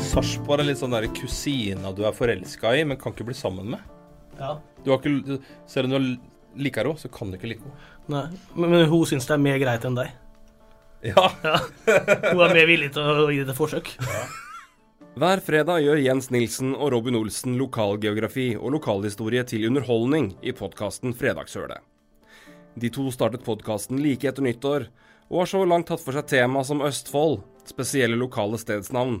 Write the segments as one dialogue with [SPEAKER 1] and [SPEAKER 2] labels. [SPEAKER 1] Sarpsborg er litt sånn der kusina du er forelska i, men kan ikke bli sammen med.
[SPEAKER 2] Ja.
[SPEAKER 1] Du har ikke, du- selv om du har- liker henne, så kan du ikke like henne.
[SPEAKER 2] Nei. Men, men hun syns det er mer greit enn deg.
[SPEAKER 1] Ja.
[SPEAKER 2] Hun er mer villig til å gi det et forsøk.
[SPEAKER 3] Hver fredag gjør Jens Nilsen og Robin Olsen lokalgeografi og lokalhistorie til underholdning i podkasten Fredagshølet. De to startet podkasten like etter nyttår, og har så langt tatt for seg tema som Østfold, spesielle lokale stedsnavn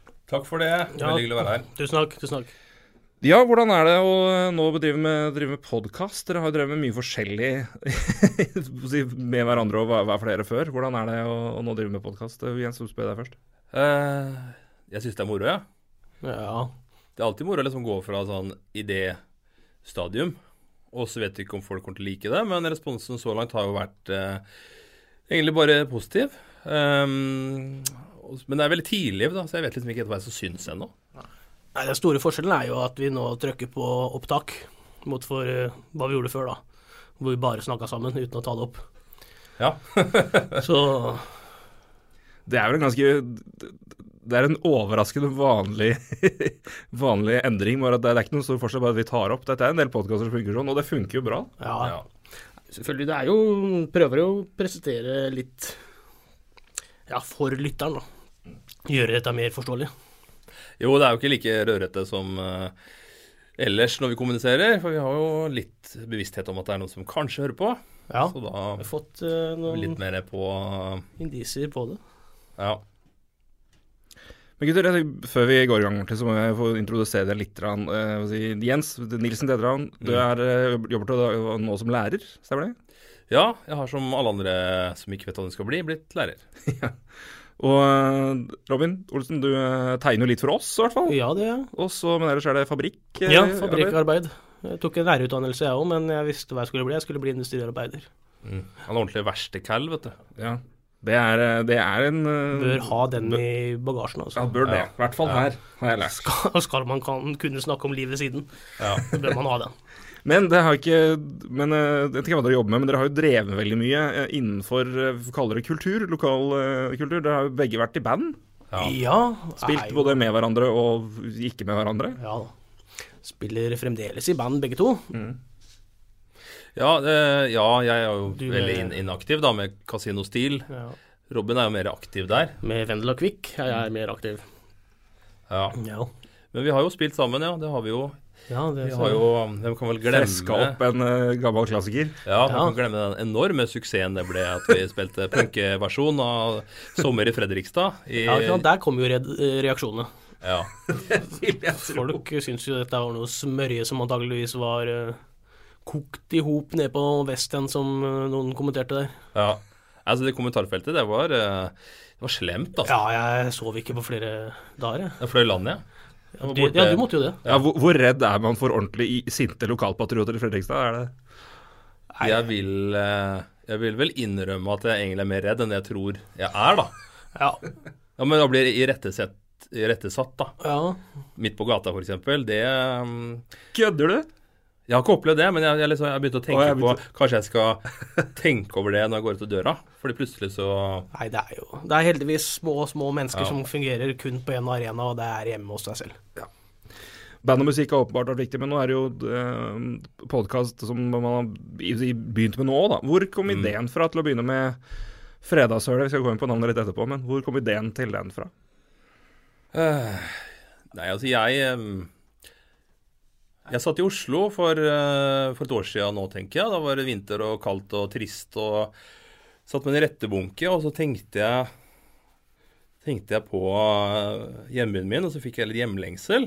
[SPEAKER 1] Takk for det.
[SPEAKER 2] Ja.
[SPEAKER 1] Veldig hyggelig å være her.
[SPEAKER 2] Tusen takk. tusen takk.
[SPEAKER 3] Ja, hvordan er det å eh, nå bedrive med, drive med podkast? Dere har jo drevet med mye forskjellig si, med hverandre og hver, hver flere før. Hvordan er det å, å nå drive med podkast? Jens, du spør deg først.
[SPEAKER 1] Eh, jeg syns det er moro, jeg. Ja.
[SPEAKER 2] Ja.
[SPEAKER 1] Det er alltid moro å liksom gå fra sånn idéstadium, og så vet vi ikke om folk kommer til å like det, men responsen så langt har jo vært eh, egentlig bare positiv. Ehm, og- men det er veldig tidlig, da, så jeg vet liksom ikke helt hva jeg syns ennå.
[SPEAKER 2] Nei, Den store forskjellen er jo at vi nå trykker på opptak, mot for eh, hva vi gjorde før, da. Hvor vi bare snakka sammen uten å ta det opp.
[SPEAKER 1] Ja.
[SPEAKER 2] Så
[SPEAKER 3] Det er vel en ganske Det er en overraskende vanlig, vanlig endring. Bare at det er ikke noen stor forskjell, bare at vi tar opp. Dette er en del podkaster som funker sånn, og det funker jo bra.
[SPEAKER 2] ja.
[SPEAKER 1] Ja.
[SPEAKER 2] Selvfølgelig, det er jo Prøver jo å presentere litt Ja, for lytteren, da. Gjøre dette mer forståelig.
[SPEAKER 1] Jo, det er jo ikke like rødrette som eh, ellers når vi kommuniserer, for vi har jo litt bevissthet om at det er noen som kanskje hører på,
[SPEAKER 2] Ja.
[SPEAKER 1] så
[SPEAKER 2] Vi
[SPEAKER 1] da
[SPEAKER 2] har fått eh,
[SPEAKER 1] er vi
[SPEAKER 2] noen
[SPEAKER 1] litt mer på eh,
[SPEAKER 2] indisier på det.
[SPEAKER 1] Ja.
[SPEAKER 3] Men gutter, jeg tenker, før vi går i gang ordentlig, så må jeg få introdusere deg litt. grann, eh, hva si, Jens Nilsen Tedran, du
[SPEAKER 1] Mm.
[SPEAKER 3] er, eh, jobber til da- nå som lærer, stemmer det?
[SPEAKER 1] ja, jeg har som alle andre som ikke vet hva de skal bli, blitt lærer.
[SPEAKER 3] Og eh, Robin Olsen, du eh, tegner jo litt for oss, i hvert fall.
[SPEAKER 2] Ja, det
[SPEAKER 3] Og så, men ellers er det fabrikk? eh,
[SPEAKER 2] Ja,
[SPEAKER 3] arbeid.
[SPEAKER 2] fabrikkarbeid. Jeg tok en lærerutdannelse jeg òg, men jeg visste hva jeg skulle bli. Jeg skulle bli industriarbeider.
[SPEAKER 1] Mm. Han er ordentlig verstecal, vet du.
[SPEAKER 3] Ja. Det er, eh, det er en eh,
[SPEAKER 2] Bør ha den i bagasjen, altså.
[SPEAKER 3] Ja, bør det.
[SPEAKER 1] Ja.
[SPEAKER 3] I hvert fall
[SPEAKER 1] Ja.
[SPEAKER 3] her, har jeg lært.
[SPEAKER 2] Skal, skal man kan, kunne snakke om livet siden,
[SPEAKER 1] Ja.
[SPEAKER 2] så bør man ha den.
[SPEAKER 3] Men det har ikke men, eh, Jeg vet ikke hva dere jobber med, men dere har jo drevet veldig mye eh, innenfor eh, vi kaller det kultur, lokal eh, kultur. Dere har jo begge vært i band.
[SPEAKER 1] Ja.
[SPEAKER 2] Ja.
[SPEAKER 3] Spilt
[SPEAKER 2] er jo-
[SPEAKER 3] både med hverandre og ikke med hverandre.
[SPEAKER 2] Ja da. Spiller fremdeles i band, begge to.
[SPEAKER 1] Ja, eh, ja, jeg er jo
[SPEAKER 2] Du er-
[SPEAKER 1] veldig inn inaktiv da, med Casino Steel.
[SPEAKER 2] Ja.
[SPEAKER 1] Robin er jo mer aktiv der.
[SPEAKER 2] Med Vendela Kvikk. Jeg er mer aktiv.
[SPEAKER 1] Ja.
[SPEAKER 2] Ja,
[SPEAKER 1] Men vi har jo spilt sammen, ja. Det har vi jo.
[SPEAKER 2] ja det
[SPEAKER 1] Vi har jo Hvem kan vel glemme
[SPEAKER 3] Fleska opp en eh, gammel klassiker.
[SPEAKER 1] Ja, man
[SPEAKER 2] Ja.
[SPEAKER 1] kan glemme den enorme suksessen det ble at vi spilte punkeversjon av 'Sommer i Fredrikstad'. I,
[SPEAKER 2] ja, ikke sant? Der kom jo red reaksjonene.
[SPEAKER 1] ja.
[SPEAKER 2] Folk syns jo dette var noe smørje som antageligvis var eh, kokt i hop nede på West End, som eh, noen kommenterte der.
[SPEAKER 1] ja. Altså, det kommentarfeltet, det var, eh, det var slemt, altså.
[SPEAKER 2] Ja, jeg sov ikke på flere dager, jeg.
[SPEAKER 1] Jeg fløy landet, jeg. jeg.
[SPEAKER 2] Ja,
[SPEAKER 1] var
[SPEAKER 2] du, ja,
[SPEAKER 1] borte-
[SPEAKER 2] du måtte jo det.
[SPEAKER 3] Ja, hvor, hvor redd er man for ordentlig i- sinte lokalpatrioter i Fredrikstad? Er det?
[SPEAKER 1] Jeg vil, eh, jeg vil vel innrømme at jeg egentlig er mer redd enn jeg tror jeg er, da.
[SPEAKER 2] Ja.
[SPEAKER 1] Ja, men da blir det irettesett, irettesatt, da.
[SPEAKER 2] ja.
[SPEAKER 1] Midt på gata, f.eks. Det mm,
[SPEAKER 3] Kødder du?
[SPEAKER 1] Jeg har ikke opplevd det, men jeg, jeg, liksom, jeg har begynt å tenke
[SPEAKER 3] Å, jeg
[SPEAKER 1] på Kanskje jeg skal tenke over det når jeg går ut av døra. Fordi plutselig så
[SPEAKER 2] Nei, det er jo Det er heldigvis små, små mennesker
[SPEAKER 1] Ja.
[SPEAKER 2] som fungerer kun på én arena, og det er hjemme hos deg selv.
[SPEAKER 3] Band og musikk har åpenbart vært viktig, men nå er det jo eh, podkast som man har i- i- begynt med nå òg, da. Hvor kom ideen fra til å begynne med Fredagshølet? Vi skal gå inn på navnet litt etterpå, men hvor kom ideen til den fra?
[SPEAKER 1] eh, Nei, altså, jeg em, Jeg satt i Oslo for, eh, for et år siden nå, tenker jeg. Da var det vinter og kaldt og trist og Satt med en rettebunke, og så tenkte jeg Tenkte jeg på eh, hjembyen min, og så fikk jeg litt hjemlengsel.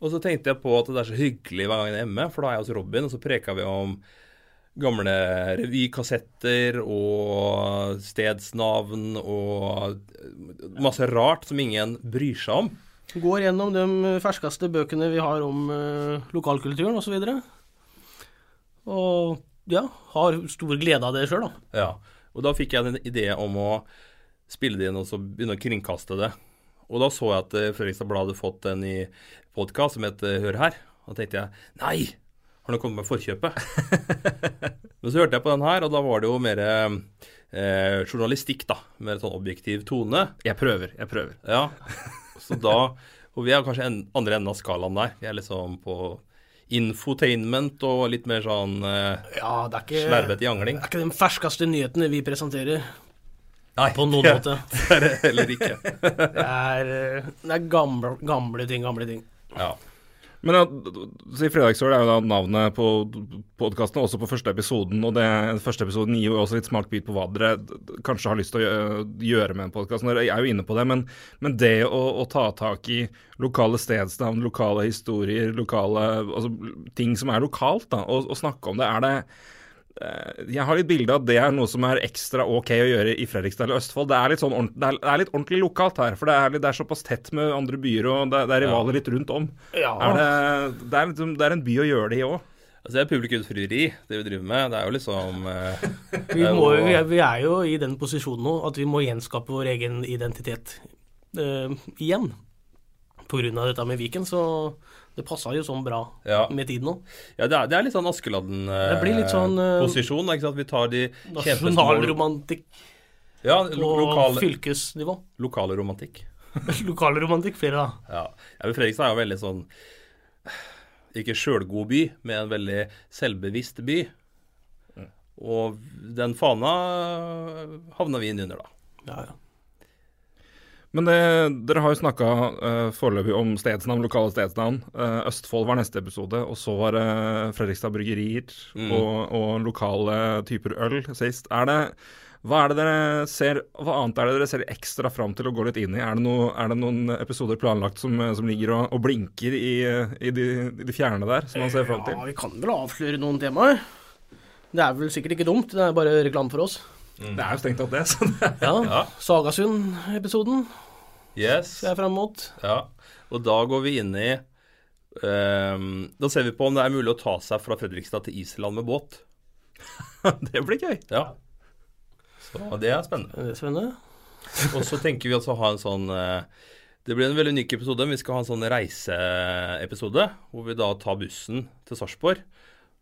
[SPEAKER 1] Og så tenkte jeg på at det er så hyggelig hver gang jeg er hjemme, for da er jeg hos Robin, og så preka vi om gamle revykassetter og stedsnavn og masse rart som ingen bryr seg om.
[SPEAKER 2] Går gjennom de ferskeste bøkene vi har om eh, lokalkulturen osv. Og, så videre. og ja, har stor glede av det sjøl, da.
[SPEAKER 1] Ja. Og da fikk jeg en idé om å spille det inn og så begynne å kringkaste det. Og da så jeg at eh, Fredrikstad Blad hadde fått en i podkast som het eh, Hør her. Da tenkte jeg nei, har den kommet med forkjøpet? Men så hørte jeg på den her, og da var det jo mer eh, eh, journalistikk, da. Mer sånn objektiv tone.
[SPEAKER 3] Jeg prøver, jeg prøver.
[SPEAKER 1] Ja. Så da Og vi er kanskje en, andre enden av skalaen der. Vi er liksom på infotainment og litt mer sånn eh,
[SPEAKER 2] Ja, det er
[SPEAKER 1] slervete jangling.
[SPEAKER 2] Det er ikke de ferskeste nyhetene vi presenterer
[SPEAKER 1] Nei,
[SPEAKER 2] på noen måte.
[SPEAKER 1] det er det heller ikke.
[SPEAKER 2] Det er, eh, det er gamle, gamle ting, gamle ting.
[SPEAKER 1] Ja.
[SPEAKER 3] Men ja, så i Fredagsøl er jo da navnet på podkasten, også på første episoden. Og det, første episoden gir jo også litt smakbit på hva dere d- d- kanskje har lyst til å gjø- gjøre med en podkast. Dere er jo inne på det, men, men det å, å ta tak i lokale stedsnavn, lokale historier, lokale altså, ting som er lokalt, da, og, og snakke om det, er det eh, jeg har litt bilde av at det er noe som er ekstra ok å gjøre i Fredrikstad eller Østfold. Det er litt, sånn ordent- det er, det er litt ordentlig lokalt her, for det er, litt- det er såpass tett med andre byer, og det, det er rivaler litt rundt om.
[SPEAKER 2] Ja.
[SPEAKER 3] Er det, det, er liksom, det er en by å gjøre det i òg.
[SPEAKER 1] Altså, det er publikumsfrieri, det vi driver med. Det er jo liksom eh,
[SPEAKER 2] Vi, må, jo- vi, er, vi er jo i den posisjonen nå at vi må gjenskape vår egen identitet eh, igjen. På grunn av dette med Viken, så det passa jo sånn bra
[SPEAKER 1] Ja.
[SPEAKER 2] med tiden nå.
[SPEAKER 1] Ja, det er, det er litt sånn Askeladden-posisjon.
[SPEAKER 2] Det blir litt sånn, eh,
[SPEAKER 1] ikke sant? Vi tar de kjempestore
[SPEAKER 2] Nasjonalromantikk
[SPEAKER 1] Ja,
[SPEAKER 2] og
[SPEAKER 1] lo lokale,
[SPEAKER 2] fylkesnivå.
[SPEAKER 1] lokale romantikk.
[SPEAKER 2] Lokalromantikk, flere da.
[SPEAKER 1] Ja. ja men Fredrikstad er jo veldig sånn Ikke sjølgod by, men en veldig selvbevisst by.
[SPEAKER 3] Mm.
[SPEAKER 1] Og den fana havna vi inn under, da.
[SPEAKER 2] Ja, ja.
[SPEAKER 3] Men det, dere har jo snakka foreløpig om stedsnavn, lokale stedsnavn. Eh, Østfold var neste episode, og så var det Fredrikstad Bryggerier og, og lokale typer øl sist. Er det, hva, er det dere ser, hva annet er det dere ser ekstra fram til å gå litt inn i? Er det, noe, er det noen episoder planlagt som, eh, som ligger og, og blinker i, eh, i de, i de fjerne der, som man ser fram til?
[SPEAKER 2] Ja, vi kan vel avsløre noen temaer. Det er vel sikkert ikke dumt, det er bare reklame for oss.
[SPEAKER 3] Det er jo strengt tatt det. sånn. Så det
[SPEAKER 2] Ja, Sagasund-episoden
[SPEAKER 1] Yes.
[SPEAKER 2] er jeg fram mot.
[SPEAKER 1] Ja. Og da går vi inn i ehm, Da ser vi på om det er mulig å ta seg fra Fredrikstad til Island med båt.
[SPEAKER 3] det blir gøy.
[SPEAKER 1] Ja. Så det er spennende.
[SPEAKER 2] Er det spennende?
[SPEAKER 1] Og så tenker vi også å ha en sånn eh, Det blir en veldig unik episode. men Vi skal ha en sånn reiseepisode hvor vi da tar bussen til Sarpsborg.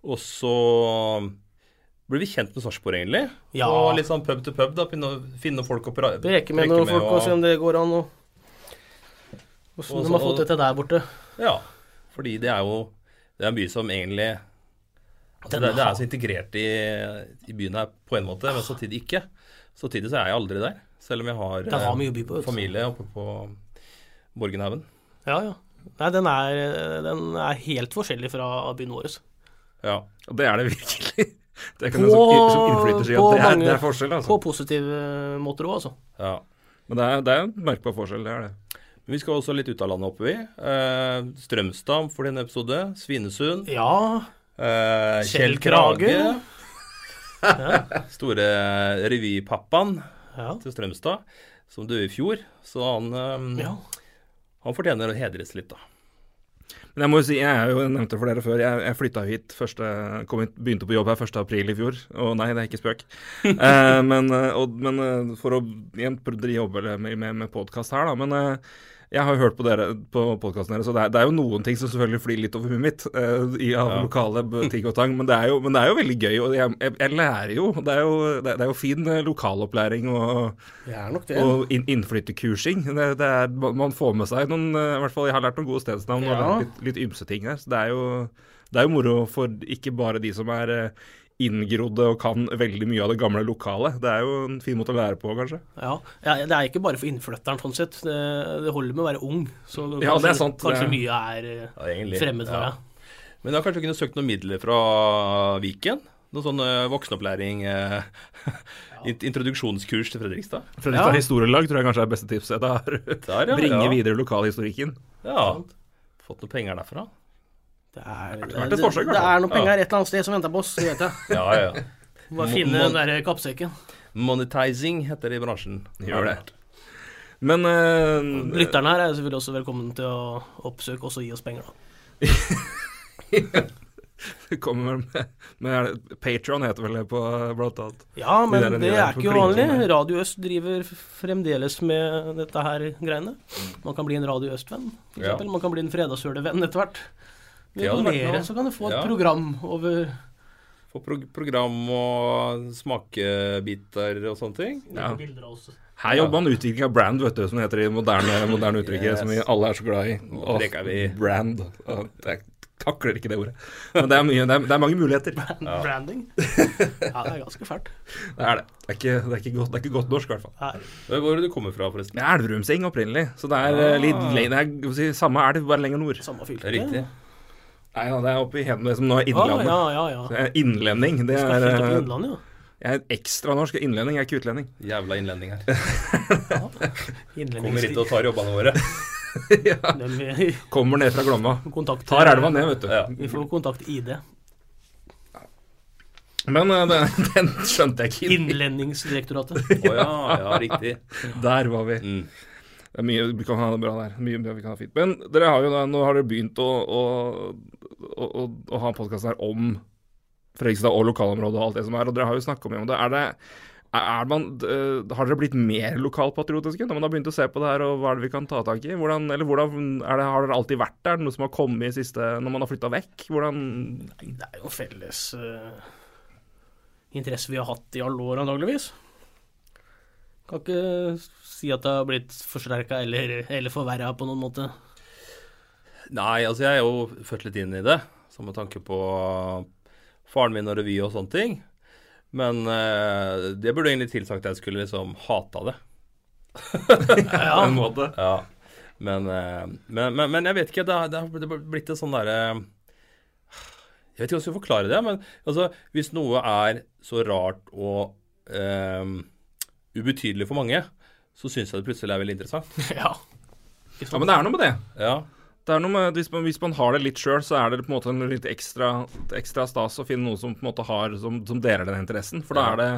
[SPEAKER 1] Og så blir vi kjent med Sarpsborg, egentlig.
[SPEAKER 2] Ja.
[SPEAKER 1] Og litt sånn pub til pub. da, Finne, finne folk å pra-
[SPEAKER 2] Preke med noen folk og sånn. se om det går an, og
[SPEAKER 1] Og
[SPEAKER 2] åssen de
[SPEAKER 1] så-
[SPEAKER 2] har fått dette der borte.
[SPEAKER 1] Ja. Fordi det er jo Det er en by som egentlig altså
[SPEAKER 2] Den
[SPEAKER 1] det, det
[SPEAKER 2] har-
[SPEAKER 1] er så integrert i, i byen her på en måte, men samtidig ikke. Samtidig så er jeg aldri der. Selv om jeg har,
[SPEAKER 2] Den har
[SPEAKER 1] eh,
[SPEAKER 2] mye å by på. vet du.
[SPEAKER 1] familie oppe på Borgenhaugen.
[SPEAKER 2] Ja, ja. Nei, den er, den er helt forskjellig fra byen vår.
[SPEAKER 1] Ja.
[SPEAKER 3] Og det er det virkelig. Det kan
[SPEAKER 2] På-
[SPEAKER 3] jeg som, som innflytter si
[SPEAKER 2] på
[SPEAKER 3] at det er,
[SPEAKER 2] mange-
[SPEAKER 3] det er forskjell, altså.
[SPEAKER 2] På positive måter òg, altså.
[SPEAKER 1] ja.
[SPEAKER 3] Men det er, det er en merkbar forskjell, det er det.
[SPEAKER 1] Men Vi skal også litt ut av landet, håper vi. Eh, Strømstad for denne episode. Svinesund.
[SPEAKER 2] Ja.
[SPEAKER 1] Eh, Kjell
[SPEAKER 2] Kjell Krage.
[SPEAKER 1] Krage. Store revypappaen
[SPEAKER 2] Ja.
[SPEAKER 1] til Strømstad, som døde i fjor. Så han, eh,
[SPEAKER 2] ja.
[SPEAKER 1] han fortjener å hedres litt, da.
[SPEAKER 3] Men jeg må jo si, jeg er jo jeg nevnte for dere før, jeg, jeg flytta hit første, kom hit, begynte på jobb her 1. april i fjor. Og nei, det er ikke spøk. Eh, men, eh, og, men eh, for å igjen pr- dri- jobbe litt med, med, med podkast her, da. Men eh, jeg har jo hørt på dere på podkasten deres, og det er, det er jo noen ting som selvfølgelig flyr litt over huet mitt eh, i, av lokale b- ting og tang, men det, er jo, men det er jo veldig gøy. Og jeg, jeg, jeg lærer jo. Det er jo, det er, det er jo fin eh, lokalopplæring og
[SPEAKER 2] Det er nok det.
[SPEAKER 3] Og inn, innflytterkursing. Det, det er, man får med seg noen eh, I hvert fall jeg har lært noen gode stedsnavn og
[SPEAKER 2] Ja.
[SPEAKER 3] litt, litt ymse ting her. Så det er, jo, det er jo moro for ikke bare de som er eh, inngrodde og kan veldig mye av det gamle lokalet. Det er jo en fin måte å lære på, kanskje.
[SPEAKER 2] Ja, ja, Det er ikke bare for innflytteren, sånn sett. Det, det holder med å være ung. Så
[SPEAKER 3] Ja, det er sant.
[SPEAKER 2] kanskje
[SPEAKER 3] Det-
[SPEAKER 2] mye er eh,
[SPEAKER 1] Ja, egentlig.
[SPEAKER 2] fremmed for
[SPEAKER 1] Ja.
[SPEAKER 2] deg.
[SPEAKER 1] Men jeg har kanskje kunnet søkt noen midler fra Viken? Noe sånn eh, voksenopplæring, eh, int- introduksjonskurs til Fredrikstad?
[SPEAKER 3] Fredrikstad
[SPEAKER 2] Ja.
[SPEAKER 3] historielag tror jeg kanskje er beste tipset jeg har.
[SPEAKER 1] Der, ja.
[SPEAKER 3] Bringe
[SPEAKER 1] ja.
[SPEAKER 3] videre lokalhistorikken.
[SPEAKER 1] Ja. Fått noen penger derfra?
[SPEAKER 2] Det er, det,
[SPEAKER 3] vært et
[SPEAKER 2] det,
[SPEAKER 3] forsøk, i hvert fall.
[SPEAKER 2] er noen penger et eller annet sted som venter på oss, det vet jeg.
[SPEAKER 1] Ja, ja.
[SPEAKER 2] Bare
[SPEAKER 1] Må-
[SPEAKER 2] finne
[SPEAKER 1] må-
[SPEAKER 2] den der kappsekken.
[SPEAKER 1] Monetizing heter det i bransjen.
[SPEAKER 3] Gjør det. Men eh,
[SPEAKER 2] Lytterne her er jo selvfølgelig også velkommen til å oppsøke oss og gi oss penger, da.
[SPEAKER 3] det kommer vel med, med Patron heter vel det på eh, blant annet.
[SPEAKER 2] Ja, men
[SPEAKER 3] der er
[SPEAKER 2] det
[SPEAKER 3] nye
[SPEAKER 2] er ikke
[SPEAKER 3] på
[SPEAKER 2] uvanlig.
[SPEAKER 3] klinken,
[SPEAKER 2] Radio Øst driver f- fremdeles med dette her greiene. Man kan bli en Radio Øst-venn, for
[SPEAKER 1] Ja.
[SPEAKER 2] eksempel. Man kan bli en Fredagssøle-venn etter hvert. Ved
[SPEAKER 1] Det
[SPEAKER 2] å
[SPEAKER 1] hadde vært
[SPEAKER 2] donere
[SPEAKER 1] noe.
[SPEAKER 2] så kan du få et
[SPEAKER 1] Ja.
[SPEAKER 2] program over
[SPEAKER 1] Få pro program og smakebiter og sånne ting.
[SPEAKER 3] Ja.
[SPEAKER 2] bilder av oss.
[SPEAKER 3] Her jobber han utvikling av brand, vet du, som det heter i moderne, moderne uttrykket,
[SPEAKER 1] Yes.
[SPEAKER 3] som vi alle er så glad i.
[SPEAKER 1] Nå
[SPEAKER 3] Åh,
[SPEAKER 1] preker vi.
[SPEAKER 3] Brand. Åh, jeg takler ikke det ordet. Men det er, mye, det er, det er mange muligheter.
[SPEAKER 2] Branding. Ja, det er ganske fælt.
[SPEAKER 3] Det er det. Det er ikke, det er ikke, godt, det er ikke godt norsk, i hvert fall.
[SPEAKER 2] Nei.
[SPEAKER 1] Hvor er det du kommer fra, forresten?
[SPEAKER 3] Det er Elverumseng opprinnelig, så det er eh, litt le- det er, hva skal jeg si, samme elv, bare lenger nord.
[SPEAKER 2] Samme fylke.
[SPEAKER 1] Riktig.
[SPEAKER 3] Nei da, det er oppe i Hedene, det som nå er
[SPEAKER 2] Ah,
[SPEAKER 3] Innlandet.
[SPEAKER 2] ja, ja, ja.
[SPEAKER 3] Det er Innlending. Det
[SPEAKER 2] Skal
[SPEAKER 3] er,
[SPEAKER 2] flytte til
[SPEAKER 3] eh,
[SPEAKER 2] Innlandet, ja.
[SPEAKER 3] jeg er ekstra norsk. jeg er Innlending, jeg er ikke utlending.
[SPEAKER 1] Jævla innlending her. Kommer hit
[SPEAKER 2] Innledningstid.
[SPEAKER 1] og tar jobbene våre.
[SPEAKER 2] Dem vi
[SPEAKER 3] Kommer ned fra Glomma.
[SPEAKER 2] kontakter
[SPEAKER 3] Tar elva ned, vet du.
[SPEAKER 1] Ja.
[SPEAKER 2] Vi får kontakt ID.
[SPEAKER 3] Men eh, det, den skjønte jeg ikke.
[SPEAKER 2] Innlendingsdirektoratet.
[SPEAKER 1] Å ja, ja, riktig.
[SPEAKER 3] Der var vi.
[SPEAKER 1] Mm.
[SPEAKER 3] Det er mye vi kan ha det bra der. Mye vi kan ha fint. Men dere har jo da, nå har dere begynt å, å, å, å, å ha podkasten her om Fredrikstad og lokalområdet og alt det som er, og dere har jo snakka om det. Er det er man, eh, har dere blitt mer lokalpatriotiske når man har begynt å se på det her, og hva er det vi kan ta tak i? Hvordan, eller hvordan er det, Har dere alltid vært der? Er det Noe som har kommet i siste Når man har flytta vekk? Hvordan
[SPEAKER 2] Nei, det er jo felles eh, interesse vi har hatt i alle år, antageligvis. Kan ikke si at det har blitt forsterka eller, eller forverra på noen måte.
[SPEAKER 1] Nei, altså jeg er jo født litt inn i det, så med tanke på faren min og revy og sånne ting. Men eh, det burde egentlig tilsagt at jeg skulle liksom hata det.
[SPEAKER 2] Ja,
[SPEAKER 3] en måte?
[SPEAKER 1] Ja. Men, eh, men, men, men jeg vet ikke, det har, det har det har blitt et sånn derre Jeg vet ikke hvordan jeg skal forklare det, men altså, hvis noe er så rart og eh, ubetydelig for mange, så syns jeg det plutselig er veldig interessant.
[SPEAKER 2] ja.
[SPEAKER 3] Ja, men det er noe med det.
[SPEAKER 1] Ja.
[SPEAKER 3] Det er noe med, hvis man, hvis man har det litt sjøl, så er det på en måte en litt ekstra, ekstra stas å finne noe som på en måte har, som, som deler den interessen. For da er det,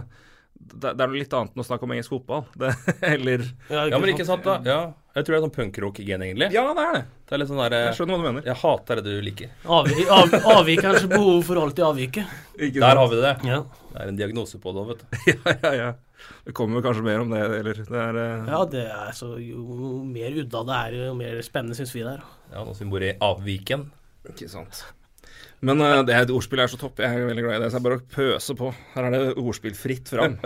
[SPEAKER 3] det, det er noe litt annet enn å snakke om engelsk fotball. Det, eller
[SPEAKER 1] ja, men ikke sant, da. Ja. Jeg tror det er sånn punkrock-gen, egentlig.
[SPEAKER 3] Ja, det er det.
[SPEAKER 1] Det er litt sånn derre
[SPEAKER 3] Jeg skjønner hva du mener.
[SPEAKER 1] Jeg hater det du liker.
[SPEAKER 2] Avvi, av, avvikerens behov for alltid avvike.
[SPEAKER 3] Ikke sant?
[SPEAKER 1] Der har vi det.
[SPEAKER 2] Ja.
[SPEAKER 1] Det er en diagnose på det òg, vet du.
[SPEAKER 3] Ja, ja, ja. Det kommer kanskje mer om det, eller det er eh,
[SPEAKER 2] ja, det er så Jo mer udda det er, jo mer spennende syns vi det er.
[SPEAKER 1] Ja, Nå som vi bor i Avviken.
[SPEAKER 3] Ikke sant. Men eh, det her ordspillet er så topp. Jeg er veldig glad i det, så jeg bare pøser på. Her er det ordspill fritt fram.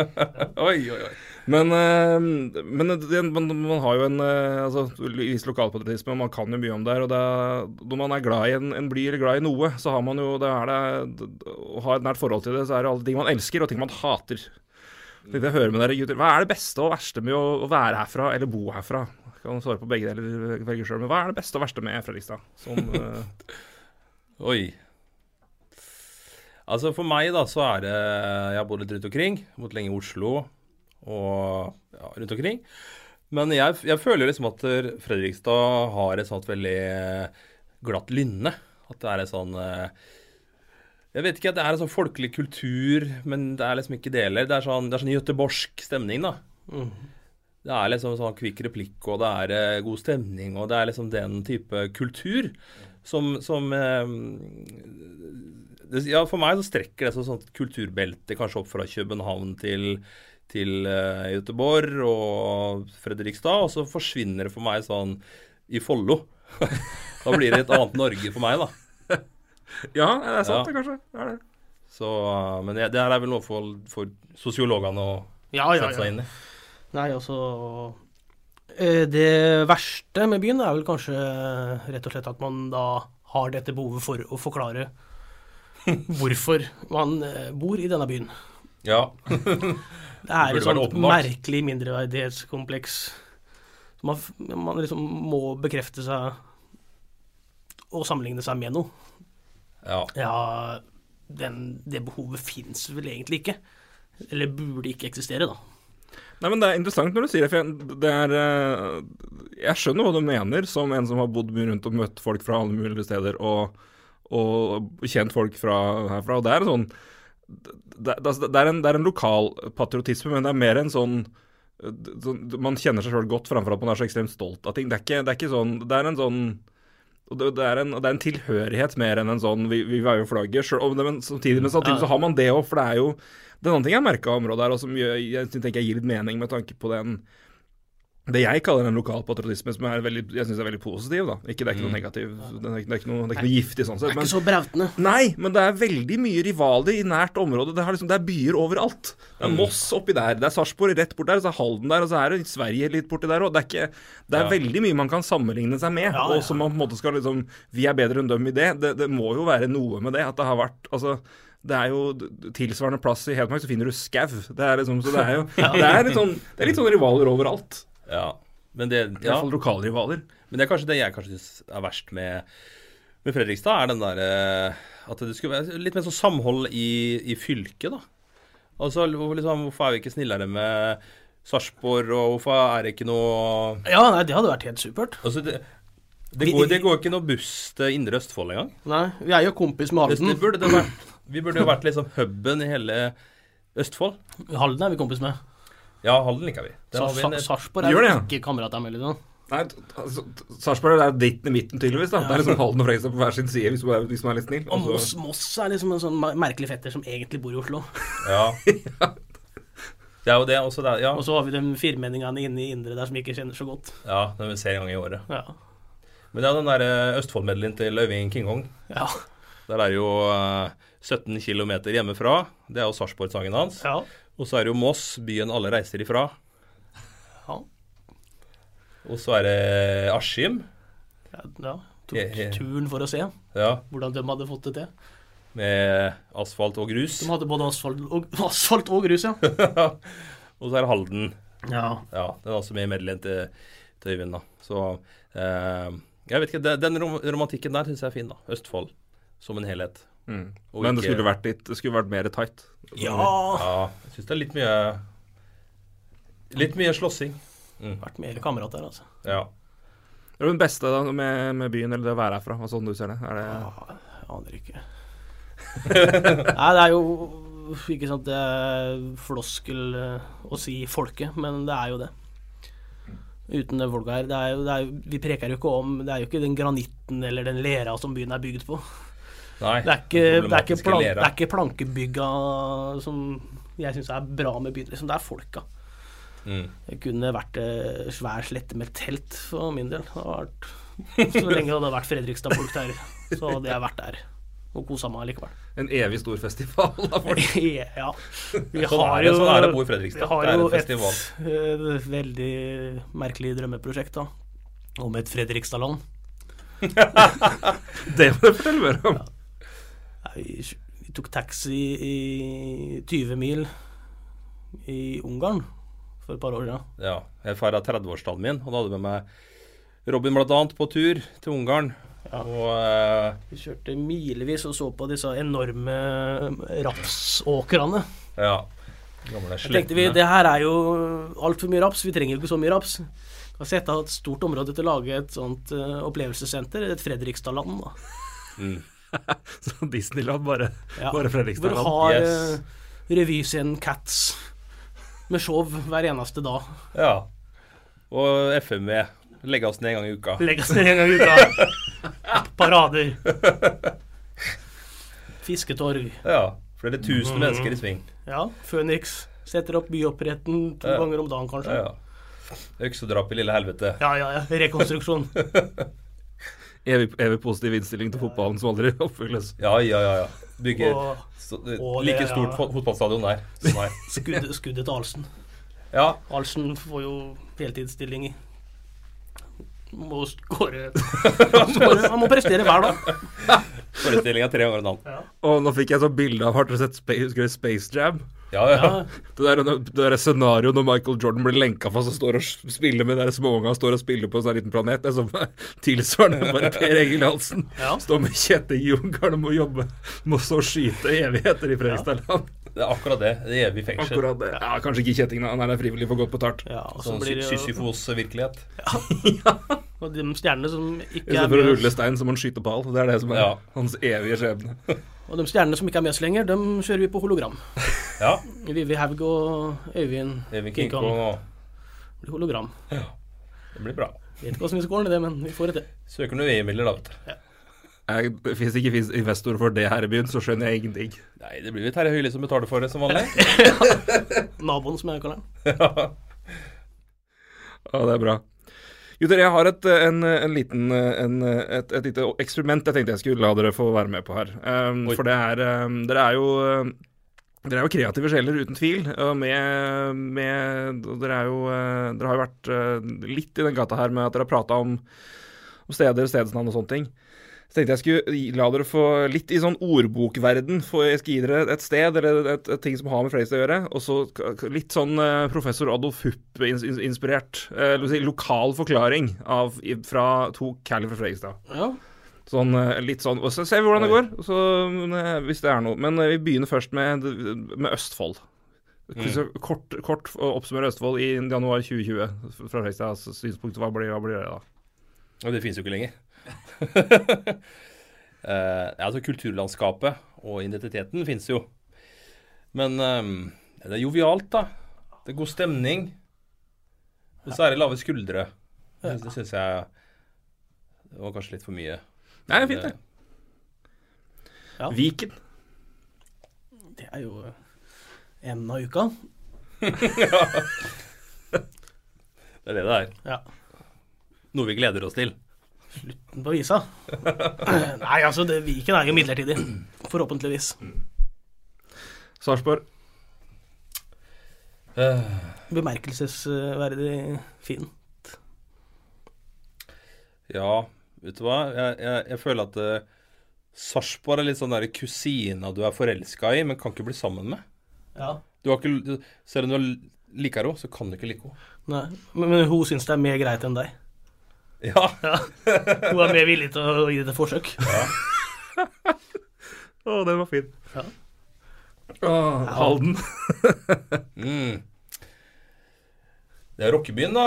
[SPEAKER 1] Oi, oi, oi.
[SPEAKER 3] Men, eh, men det, man, man har jo en eh, altså, viss lokalpatriotisme, og man kan jo mye om det her. Og det, er- når man er glad i en, en bly eller glad i noe, så har man jo det er det, Å ha et nært forhold til det, så er det alle ting man elsker, og ting man hater. Det jeg hører med dere, gutter. Hva er det beste og verste med å, å være herfra, eller bo herfra? Jeg kan svare på begge deler, velge sjøl. Men hva er det beste og verste med Fredrikstad? Som, eh,
[SPEAKER 1] Oi. Altså, for meg, da, så er det Jeg har bodd litt rundt omkring. Bodd lenge i Oslo og ja, rundt omkring. Men jeg, jeg føler liksom at Fredrikstad har et sånt veldig glatt lynne. At det er en sånn eh, Jeg vet ikke at det er en sånn folkelig kultur, men det er liksom ikke deler. Det er sånn, det er sånn göteborgsk stemning, da. Det er liksom sånn kvikk replikk, og det er eh, god stemning, og det er liksom den type kultur som, som eh, det, Ja, for meg så strekker det seg sånn kulturbelte kanskje opp fra København til, til eh, Göteborg og Fredrikstad, og så forsvinner det for meg sånn i Follo. da blir det et annet Norge for meg, da.
[SPEAKER 3] ja, det er
[SPEAKER 1] Ja.
[SPEAKER 3] sant, det, kanskje. Det er det.
[SPEAKER 1] Så, eh, men det, det her er vel noe for, for sosiologene å
[SPEAKER 2] Ja, ja,
[SPEAKER 1] sette
[SPEAKER 2] ja.
[SPEAKER 1] seg inn i.
[SPEAKER 2] Nei, altså eh, Det verste med byen er vel kanskje eh, rett og slett at man da har dette behovet for å forklare hvorfor man eh, bor i denne byen.
[SPEAKER 1] Ja.
[SPEAKER 2] Det er
[SPEAKER 1] Det
[SPEAKER 2] et
[SPEAKER 1] burde
[SPEAKER 2] sånt
[SPEAKER 1] vært åpenbart.
[SPEAKER 2] merkelig mindreverdighetskompleks. Så Man, f- man liksom må bekrefte seg og sammenligne seg med noe.
[SPEAKER 1] ja.
[SPEAKER 2] Ja, den, det behovet fins vel egentlig ikke. Eller burde ikke eksistere, da.
[SPEAKER 3] Nei, men Det er interessant når du sier det, for jeg, det er, eh, jeg skjønner hva du mener, som en som har bodd mye rundt og møtt folk fra alle mulige steder, og, og kjent folk fra herfra. og Det altså, er en sånn det, det, det, er en, det er en lokal patriotisme, men det er mer en sånn d- sånn, d- Man kjenner seg sjøl godt framfor at man er så ekstremt stolt av ting. Det er ikke, det er ikke sånn Det er en sånn og det, det, er en, og det er en tilhørighet mer enn en sånn vi, vi veier flagget. Selv, om det, men, samtidig, men samtidig så har man det òg, for det er jo Det er en annen ting jeg merka området her, og som gjør, jeg tenker jeg gir litt mening med tanke på den det jeg kaller en lokal patriotisme, som er veldig, jeg syns er veldig positiv. da. Ikke, det er ikke noe negativ, det er ikke, det er ikke noe, det er ikke noe giftig sånn
[SPEAKER 2] Mm. Det er
[SPEAKER 3] sett. men-
[SPEAKER 2] ikke så brautende.
[SPEAKER 3] Nei, men det er veldig mye rivaler i nært område. Det, har liksom, det er byer overalt. Det er Moss oppi der, det er Sarpsborg rett borti der, og så er Halden der, og så er det Sverige litt borti der òg. Det er, ikke, det er veldig mye man kan sammenligne seg med,
[SPEAKER 2] Ja, ja.
[SPEAKER 3] og som man på en måte skal liksom Vi er bedre enn dem i det. det. Det må jo være noe med det at det har vært Altså, det er jo d- tilsvarende plass i Hedmark, så finner du skau. Det er liksom Så det er jo det er litt sånn, det er litt sånn rivaler overalt.
[SPEAKER 1] Ja. Men det,
[SPEAKER 3] I hvert
[SPEAKER 1] ja.
[SPEAKER 3] fall lokalrivaler.
[SPEAKER 1] Men det er kanskje det jeg kanskje syns er verst med, med Fredrikstad, er den derre At det skulle være litt mer sånn samhold i, i fylket, da. Altså, hvor- liksom, hvorfor er vi ikke snillere med Sarpsborg, og hvorfor er det ikke noe
[SPEAKER 2] Ja, nei, det hadde vært helt supert.
[SPEAKER 1] Altså, det, det, går, det går ikke noe buss til Indre Østfold engang.
[SPEAKER 2] Nei, vi er jo kompis med
[SPEAKER 1] Det, det
[SPEAKER 2] Halden.
[SPEAKER 1] burde det vært, vi burde jo vært liksom huben i hele Østfold.
[SPEAKER 2] Halden er vi kompis med.
[SPEAKER 1] Ja, Halden liker vi. Der
[SPEAKER 2] Sa-
[SPEAKER 1] har vi en,
[SPEAKER 2] Sa- Sarpsborg er
[SPEAKER 3] Gjør
[SPEAKER 2] jo
[SPEAKER 3] det,
[SPEAKER 2] ikke kamerat av Melody.
[SPEAKER 3] Nei, t- altså, t- Sarpsborg er dritten i midten, tydeligvis. da Det er liksom Halden og Fredrikstad på hver sin side, hvis man er, hvis man er litt snill. Altså,
[SPEAKER 2] Og
[SPEAKER 3] Og
[SPEAKER 2] Moss,
[SPEAKER 3] så-
[SPEAKER 2] Moss er liksom en sånn mer- merkelig fetter som egentlig bor i Oslo.
[SPEAKER 1] ja. Det er jo det også. Det er, ja,
[SPEAKER 2] Og så har vi de firmenningene inne i Indre der som vi ikke kjenner så godt.
[SPEAKER 1] ja, den vi ser en gang i året.
[SPEAKER 2] Ja.
[SPEAKER 1] Men det er den der Østfold-medleyen til Øyvind Kingong.
[SPEAKER 2] Ja.
[SPEAKER 1] Der er det jo eh, 17 km hjemmefra. Det er jo Sarpsborg-sangen hans.
[SPEAKER 2] ja.
[SPEAKER 1] Og så er det jo Moss, byen alle reiser ifra.
[SPEAKER 2] ja.
[SPEAKER 1] Og så er det eh, Askim.
[SPEAKER 2] ja.
[SPEAKER 1] Ja,
[SPEAKER 2] Tok
[SPEAKER 1] ja.
[SPEAKER 2] turen for å se
[SPEAKER 1] Ja,
[SPEAKER 2] hvordan de hadde fått det til.
[SPEAKER 1] med asfalt og grus.
[SPEAKER 2] De hadde både asfalt og, asfalt og grus, ja.
[SPEAKER 1] Og så er det Halden.
[SPEAKER 2] ja.
[SPEAKER 1] Ja, den er også med i medleyen til, til Øyvind, da. Så eh, jeg vet ikke, den, den rom romantikken der syns jeg er fin, da. Østfold som en helhet.
[SPEAKER 3] Mm.
[SPEAKER 1] Og
[SPEAKER 3] Men det
[SPEAKER 1] ikke-
[SPEAKER 3] skulle vært litt Det skulle vært mer tight.
[SPEAKER 2] Ja.
[SPEAKER 1] Ja, jeg syns det er litt mye Litt mye slåssing.
[SPEAKER 2] Vært mer kamerat der, altså.
[SPEAKER 1] Ja.
[SPEAKER 3] Det er den beste da med, med byen, eller det å være herfra, og sånn du ser det. Er det
[SPEAKER 2] Ja, jeg aner ikke. Nei, det er jo ikke sant det er floskel eh, å si folket, men det er jo det. Uten det folket her. Det er jo, det er, jo- vi preker jo ikke om Det er jo ikke den granitten eller den lera som byen er bygd på.
[SPEAKER 1] Nei.
[SPEAKER 2] Det er ikke, det er ikke,
[SPEAKER 1] problematiske
[SPEAKER 2] plan,
[SPEAKER 1] lera.
[SPEAKER 2] det er ikke plankebygga som jeg syns er bra med byen. Liksom, det er folka.
[SPEAKER 1] Mm.
[SPEAKER 2] Det kunne vært eh, svær slette med telt for min del. Det hadde vært, så lenge det hadde vært Fredrikstad-folk der, så hadde jeg vært der og kosa meg likevel.
[SPEAKER 3] en evig stor festival av folk.
[SPEAKER 2] ja. Vi
[SPEAKER 1] Sånn er det- sånn er det å bo i Fredrikstad.
[SPEAKER 2] Vi har
[SPEAKER 1] Det er
[SPEAKER 2] jo
[SPEAKER 1] en
[SPEAKER 2] et
[SPEAKER 1] festival.
[SPEAKER 2] eh, veldig merkelig drømmeprosjekt, da. Om et Fredrikstad-land.
[SPEAKER 3] Det må du fortelle mer om.
[SPEAKER 2] Nei, Vi vi tok taxi i 20 mil i Ungarn for et par år siden.
[SPEAKER 1] Ja. Jeg feira 30-årsdagen min, og da hadde jeg med meg Robin blant annet på tur til Ungarn. Og eh,
[SPEAKER 2] Vi kjørte milevis og så på disse enorme rapsåkrene.
[SPEAKER 1] ja. Gamle
[SPEAKER 2] Da tenkte vi det her er jo altfor mye raps, vi trenger jo ikke så mye raps. Vi har sett av et stort område til å lage et sånt eh, opplevelsessenter, et Fredrikstad-land. da.
[SPEAKER 1] Mm.
[SPEAKER 3] Så Disneyland, bare,
[SPEAKER 2] Ja.
[SPEAKER 3] bare
[SPEAKER 2] Hvor du
[SPEAKER 3] Fredrikstad.
[SPEAKER 2] har
[SPEAKER 1] Yes.
[SPEAKER 2] yes. revyscenen Cats med show hver eneste dag.
[SPEAKER 1] Ja. Og FMV. Legge oss ned en gang i uka.
[SPEAKER 2] Legges ned en gang i uka. Parader. Fisketorg.
[SPEAKER 1] Ja. Flere
[SPEAKER 2] Mm.
[SPEAKER 1] tusen mennesker i sving.
[SPEAKER 2] Ja, Phoenix. Setter opp byoppdretten to
[SPEAKER 1] Ja.
[SPEAKER 2] ganger om dagen, kanskje.
[SPEAKER 1] Ja, ja. Øksedrap i lille helvete.
[SPEAKER 2] Ja, ja, ja. Rekonstruksjon.
[SPEAKER 3] Evig, evig positiv innstilling til fotballen som aldri oppfylles.
[SPEAKER 1] Ja, ja, ja. ja. Bygge
[SPEAKER 2] Og
[SPEAKER 1] så, det-
[SPEAKER 2] og
[SPEAKER 1] like
[SPEAKER 2] det, ja.
[SPEAKER 1] stort fot- fotballstadion der som her.
[SPEAKER 2] skuddet, skuddet til Arlsen.
[SPEAKER 1] Ja.
[SPEAKER 2] Arlsen får jo heltidsstilling i Må skåre Han må prestere hver dag.
[SPEAKER 1] Forestillinga tre ganger en annen.
[SPEAKER 3] Og nå fikk jeg sånn bilde av Har dere sett Space, husker dere Space Jam?
[SPEAKER 1] Ja, ja.
[SPEAKER 2] Ja,
[SPEAKER 3] Det der, det der scenarioet når Michael Jordan blir lenka fast og står og spiller med de der småunga og står og spiller på en sånn liten planet, det er som tilsvarende bare Per Egil Hansen.
[SPEAKER 2] Ja.
[SPEAKER 3] Står med kjetting i Ungarn og må jobbe, må så skyte i evigheter i Fredrikstadland.
[SPEAKER 1] Det er akkurat det. Det er evig fengsel.
[SPEAKER 3] Akkurat det. Ja, kanskje ikke kjetting, da. Han er frivillig for godt betalt.
[SPEAKER 2] ja og så
[SPEAKER 1] Sånn
[SPEAKER 2] blir det jo
[SPEAKER 1] Sisyfos-virkelighet.
[SPEAKER 2] og de stjernene som ikke er
[SPEAKER 3] Istedenfor å
[SPEAKER 2] med
[SPEAKER 3] rulle
[SPEAKER 2] oss,
[SPEAKER 3] stein, så må han skyte pall. Det er det som er
[SPEAKER 1] Ja.
[SPEAKER 3] hans evige skjebne.
[SPEAKER 2] Og de stjernene som ikke er med oss lenger, dem kjører vi på hologram.
[SPEAKER 1] Ja.
[SPEAKER 2] Vivi Haug og Øyvind
[SPEAKER 1] Evig King
[SPEAKER 2] King Kong.
[SPEAKER 1] Kong og
[SPEAKER 2] Det blir hologram.
[SPEAKER 1] Det blir bra.
[SPEAKER 2] Vet ikke hva som vi skal ordne det, men vi får det til.
[SPEAKER 1] Søker noen EU-midler, da, vet du.
[SPEAKER 3] Jeg, det fins ikke fins investor for det her i byen, så skjønner jeg ingenting.
[SPEAKER 1] Nei, det blir vel Terje Høili som betaler for det, som vanlig.
[SPEAKER 2] Naboen, som jeg kaller den.
[SPEAKER 3] Ja, det er bra. Gutter, jeg har et, eh, en, en liten, eh, en, eh, et, et lite eksperiment jeg tenkte jeg skulle la dere få være med på her. Um,
[SPEAKER 1] Oi.
[SPEAKER 3] for det er um, Dere er jo um, dere er jo kreative sjeler, uten tvil. Og med, med og dere, er jo, eh, dere har jo vært eh, litt i den gata her med at dere har prata om, om steder, stedsnavn og sånne ting. Så tenkte jeg skulle gi- la dere få litt i sånn ordbokverden. For jeg skal gi dere et sted eller et, et ting som har med Fredrikstad å gjøre. Og så k- k- litt sånn eh, professor Adolf Hupp-inspirert. Eh, la oss si lokal forklaring av, i, fra to caller fra Fredrikstad.
[SPEAKER 2] Ja.
[SPEAKER 3] Sånn eh, litt sånn. Og så ser vi hvordan det går, og så, eh, hvis det er noe. Men eh, vi begynner først med, med Østfold. Så Kort, kort å oppsummere Østfold i januar 2020 fra Fredrikstads synspunkt. Hva blir, hva blir det da?
[SPEAKER 1] Og det finnes jo ikke lenger. Eh, altså kulturlandskapet og identiteten finnes jo. Men eh, det er jovialt, da. Det er god stemning. Og så er det lave skuldre. Det syns- Det syns jeg det var kanskje litt for mye. eh,
[SPEAKER 3] Nei, fint, det. Viken.
[SPEAKER 2] Det er jo eh, enden av uka.
[SPEAKER 1] Det er det det er.
[SPEAKER 2] Ja.
[SPEAKER 1] Noe vi gleder oss til.
[SPEAKER 2] Slutten på visa. Nei, altså, det, Viken er jo midlertidig. Forhåpentligvis.
[SPEAKER 3] Sarpsborg.
[SPEAKER 1] Eh,
[SPEAKER 2] Bemerkelsesverdig fin.
[SPEAKER 1] ja, vet du hva? Jeg, jeg, jeg føler at uh, Sarpsborg er litt sånn der kusina du er forelska i, men kan ikke bli sammen med.
[SPEAKER 2] Ja.
[SPEAKER 1] Du har ikke, du- selv om du liker henne, så kan du ikke like henne.
[SPEAKER 2] Nei. Men, men hun syns det er mer greit enn deg.
[SPEAKER 1] Ja,
[SPEAKER 2] Hun er mer villig til å gi det et forsøk.
[SPEAKER 3] Å, den var fin.
[SPEAKER 2] Ja.
[SPEAKER 3] Åh, Halden.
[SPEAKER 1] Mm. Det er rockebyen, da.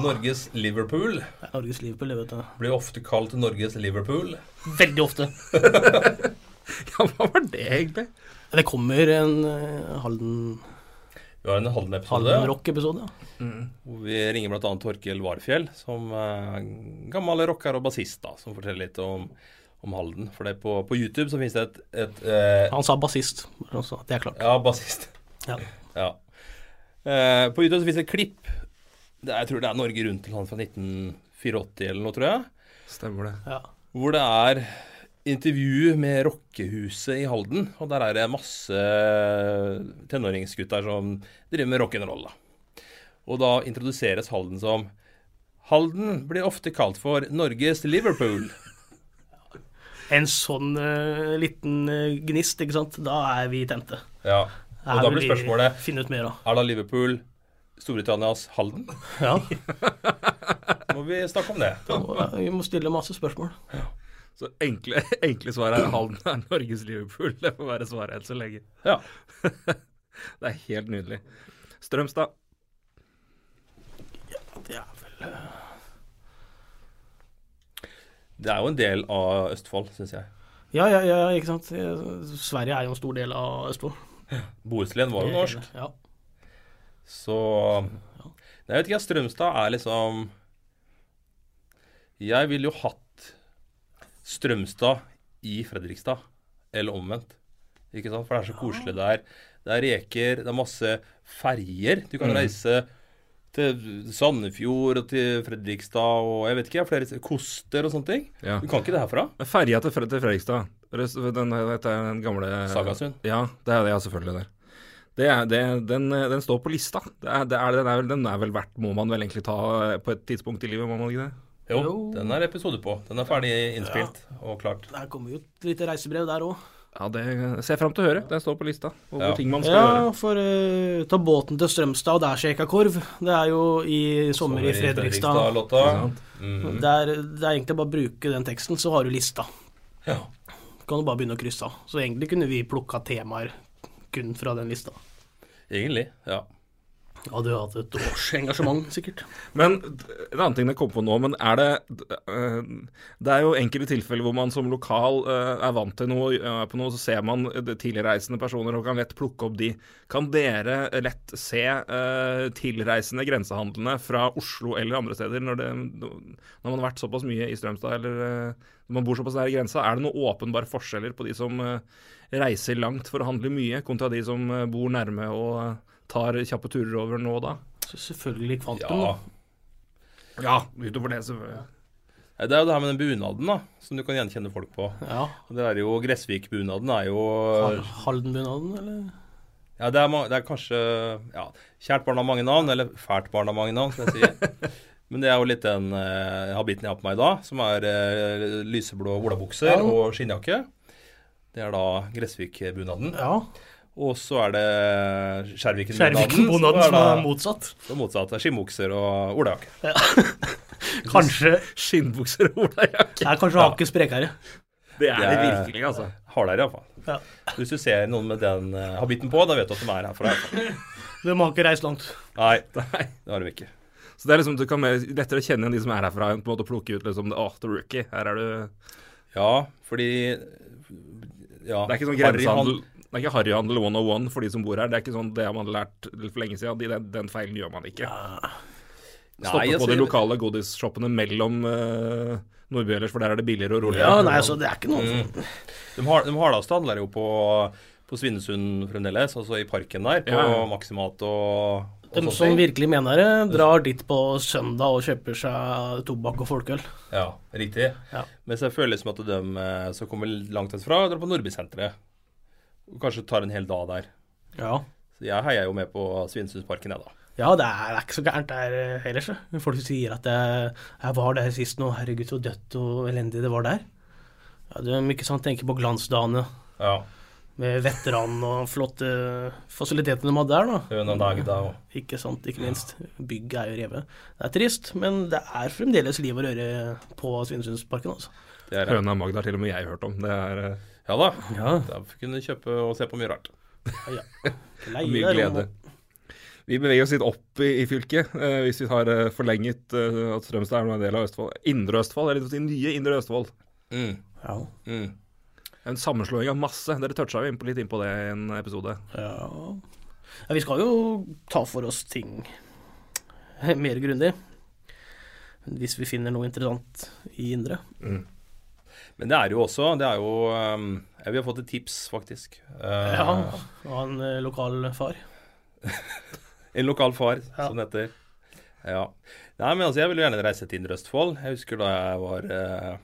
[SPEAKER 1] Norges Liverpool.
[SPEAKER 2] Det er Norges liv på livet.
[SPEAKER 1] Blir ofte kalt Norges Liverpool.
[SPEAKER 2] Veldig ofte.
[SPEAKER 3] Ja, hva var det egentlig?
[SPEAKER 2] Det kommer en eh, Halden
[SPEAKER 1] Vi har en Halden-episode
[SPEAKER 2] Halden-rock-episode. ja.
[SPEAKER 1] hvor vi ringer bl.a. Torkil Varfjell, som er gammel rocker og bassist, da, som forteller litt om, om Halden. For det er på, på YouTube så finnes det et, et eh,
[SPEAKER 2] Han sa bassist. bare sånn at Det er klart.
[SPEAKER 1] Ja, bassist.
[SPEAKER 2] Ja.
[SPEAKER 1] Ja. Eh, på YouTube så finnes det et klipp. Det, er- jeg tror det er Norge Rundt eller noe fra 1984 eller noe, tror jeg.
[SPEAKER 3] Stemmer det.
[SPEAKER 2] Ja.
[SPEAKER 1] Hvor det er intervju med rockehuset i Halden. Og der er det masse eh, tenåringsgutter som driver med rock'n'roll. da. Og da introduseres Halden som Halden blir ofte kalt for Norges Liverpool.
[SPEAKER 2] En sånn eh, liten eh, gnist, ikke sant. Da er vi tente.
[SPEAKER 1] Ja. Og
[SPEAKER 2] Her
[SPEAKER 1] da
[SPEAKER 2] vil
[SPEAKER 1] blir
[SPEAKER 2] vi
[SPEAKER 1] spørsmålet
[SPEAKER 2] Finne ut mer av.
[SPEAKER 1] er da Liverpool Storbritannias Halden?
[SPEAKER 2] Ja.
[SPEAKER 1] Må vi snakke om det.
[SPEAKER 2] Og, eh, Vi må stille masse spørsmål.
[SPEAKER 3] Så enkle, enkle svar er Halden er Norges Liverpool. Det får være svaret helt så lenge.
[SPEAKER 1] Ja.
[SPEAKER 3] Det er helt nydelig. Strømstad.
[SPEAKER 2] Det er vel
[SPEAKER 1] Det er jo en del av Østfold, syns jeg.
[SPEAKER 2] Ja, ja, ja, ikke sant. Eh, Sverige er jo en stor del av Østfold.
[SPEAKER 1] Bohuslän var jo norsk.
[SPEAKER 2] Ja.
[SPEAKER 1] Så Nei, Jeg vet ikke, Strømstad er liksom Jeg ville jo hatt Strømstad i Fredrikstad, eller omvendt. Ikke sant? For det er så koselig der. Det er reker, det er masse ferjer. Du kan reise til Sandefjord og til Fredrikstad og jeg vet ikke, flere s- koster og sånne ting.
[SPEAKER 3] Ja.
[SPEAKER 1] Du kan ikke det herfra.
[SPEAKER 3] Men Ferja til, Fre- til Fredrikstad. Res- Den, vet jeg, den gamle
[SPEAKER 1] Sagasund.
[SPEAKER 3] Ja, det er det, ja, selvfølgelig. det. Det er, det, den, den står på lista. Det er, det er, den, er vel, den er vel verdt Må man vel egentlig ta eh, på et tidspunkt i livet, må man ikke det?
[SPEAKER 1] Jo,
[SPEAKER 2] Jo.
[SPEAKER 1] den er episode på. Den er ferdig innspilt og klart.
[SPEAKER 2] Der kommer jo et lite reisebrev der òg.
[SPEAKER 3] Ja, det ser jeg fram til å høre. Den står på lista over
[SPEAKER 1] Ja.
[SPEAKER 3] ting man skal gjøre.
[SPEAKER 2] Ja, for eh, ta båten til Strømstad, og der skjeka korv. Det er jo i sommer i Fredrikstad. Mm.
[SPEAKER 1] Fredrikstad-låta.
[SPEAKER 2] Det er, det er egentlig bare å bruke den teksten, så har du lista.
[SPEAKER 1] Ja.
[SPEAKER 2] Kan du bare begynne å krysse av. Så egentlig kunne vi plukka temaer kun fra den lista.
[SPEAKER 1] Egentlig, ja.
[SPEAKER 2] Hadde jo hatt et års engasjement, sikkert.
[SPEAKER 3] Men d- en annen ting jeg kom på nå, men er det d- eh, Det er jo enkelte tilfeller hvor man som lokal eh, er vant til noe, eh, er på noe, så ser man det tilreisende personer og kan lett plukke opp de. Kan dere lett se eh, tilreisende grensehandlende fra Oslo eller andre steder når, det, når man har vært såpass mye i Strømstad eller eh, når man bor såpass nær grensa? Er det noen åpenbare forskjeller på de som eh, reiser langt for å handle mye, kontra de som eh, bor nærme og eh, tar kjappe turer over nå og da?
[SPEAKER 2] Så selvfølgelig kvantum.
[SPEAKER 1] Ja.
[SPEAKER 2] da.
[SPEAKER 3] Ja, utover det, selvfølgelig.
[SPEAKER 1] Nei, Det er jo det her med den bunaden, da, som du kan gjenkjenne folk på.
[SPEAKER 2] Ja.
[SPEAKER 1] Og Det er jo Gressvik-bunaden er jo
[SPEAKER 2] Har- Haldenbunaden, eller?
[SPEAKER 1] Ja, det er, ma- det er kanskje ja, Kjært barn har mange navn, eller Fælt barn har mange navn, som jeg sier. Men det er jo litt den eh, habitten jeg har på meg i dag, som er eh, lyseblå olabukser
[SPEAKER 2] Ja.
[SPEAKER 1] og skinnjakke. Det er da Gressvik-bunaden.
[SPEAKER 2] Ja.
[SPEAKER 1] Og så er det
[SPEAKER 2] Skjerviken-bunaden som er
[SPEAKER 1] mot...
[SPEAKER 2] motsatt.
[SPEAKER 1] motsatt. Det er skinnbukser og olajakke.
[SPEAKER 2] Kanskje
[SPEAKER 3] Skinnbukser og olajakke.
[SPEAKER 2] Det er kanskje hakket sprekere.
[SPEAKER 3] Det er det
[SPEAKER 1] Det er-
[SPEAKER 3] virkelig, altså.
[SPEAKER 1] Hardere, iallfall.
[SPEAKER 2] Ja.
[SPEAKER 1] Hvis du ser noen med den eh, habitten på, da vet du at de er herfra. i hvert fall.
[SPEAKER 2] De har ikke reist langt.
[SPEAKER 1] Nei, det har de ikke.
[SPEAKER 3] Så det er liksom, du kan mer, lettere kjenne igjen de som er herfra, enn på en måte å plukke ut liksom Åh, the rookie. Her er du
[SPEAKER 1] Ja, fordi ja,
[SPEAKER 3] Det er ikke sånn
[SPEAKER 1] Harry, han-
[SPEAKER 3] grensehandel Det er ikke harryhandel 101 for de som bor her. Det er ikke sånn, det har man lært for lenge siden. De, den, den feilen gjør man ikke. Stoppe
[SPEAKER 1] Nei,
[SPEAKER 3] på
[SPEAKER 1] altså,
[SPEAKER 3] de lokale godisshoppene mellom uh, Nordby ellers, for der er det billigere og roligere.
[SPEAKER 2] Ja, nei, altså, det er ikke noe
[SPEAKER 3] Mm.
[SPEAKER 1] De, har, de hardeste handler jo på, på Svinesund fremdeles, altså i parken der, på
[SPEAKER 3] Ja.
[SPEAKER 1] Maximat og, og
[SPEAKER 2] De
[SPEAKER 1] sånne
[SPEAKER 2] som
[SPEAKER 1] ting.
[SPEAKER 2] virkelig mener det, drar dit på søndag og kjøper seg tobakk og folkeøl.
[SPEAKER 1] Ja, riktig.
[SPEAKER 2] Ja.
[SPEAKER 1] Mens jeg føler som at de eh, som kommer langt herfra, drar på Nordbysenteret. Og Kanskje tar en hel dag der.
[SPEAKER 2] Ja.
[SPEAKER 1] Så jeg heier jo med på Svinesundsparken, jeg, da.
[SPEAKER 2] ja, det er ikke så gærent der eh, ellers. eh. Folk sier at jeg, jeg var der sist nå, herregud så dødt og elendig det var der. Ja, de ikke sant, sånn, tenker på glansdagene
[SPEAKER 1] Ja.
[SPEAKER 2] med veteran og flotte fasilitetene de hadde der. da.
[SPEAKER 1] Høna Nagda og
[SPEAKER 2] Ikke sant, ikke minst. Bygg er jo revet. Det er trist, men det er fremdeles liv og røre på Svinesundsparken, altså.
[SPEAKER 1] det er,
[SPEAKER 3] Høna Magda har til og med jeg hørt om. Det er eh,
[SPEAKER 1] Ja da.
[SPEAKER 2] Ja.
[SPEAKER 1] Da kunne du kjøpe og se på mye rart.
[SPEAKER 2] ja. Lei
[SPEAKER 3] Mye
[SPEAKER 2] deg,
[SPEAKER 3] glede.
[SPEAKER 2] Romo.
[SPEAKER 3] Vi beveger oss litt opp i, i fylket, eh, hvis vi har eh, forlenget eh, at Strømstad er nå en del av Østfold. Indre Østfold, eller de nye Indre Østfold.
[SPEAKER 1] Mm,
[SPEAKER 2] Ja.
[SPEAKER 1] mm.
[SPEAKER 3] En sammenslåing av masse. Dere toucha jo inn på litt inn på det i en episode.
[SPEAKER 2] Ja. ja Vi skal jo ta for oss ting mer grundig. Hvis vi finner noe interessant i indre.
[SPEAKER 1] Men det er jo også Det er jo ehm, Vi har fått et tips, faktisk. Eh,
[SPEAKER 2] Ja, og en eh, lokal far.
[SPEAKER 1] En lokal far,
[SPEAKER 2] Ja.
[SPEAKER 1] som det heter. Ja. Nei, men altså, jeg ville jo gjerne reise til Indre Østfold. Jeg husker da jeg var eh,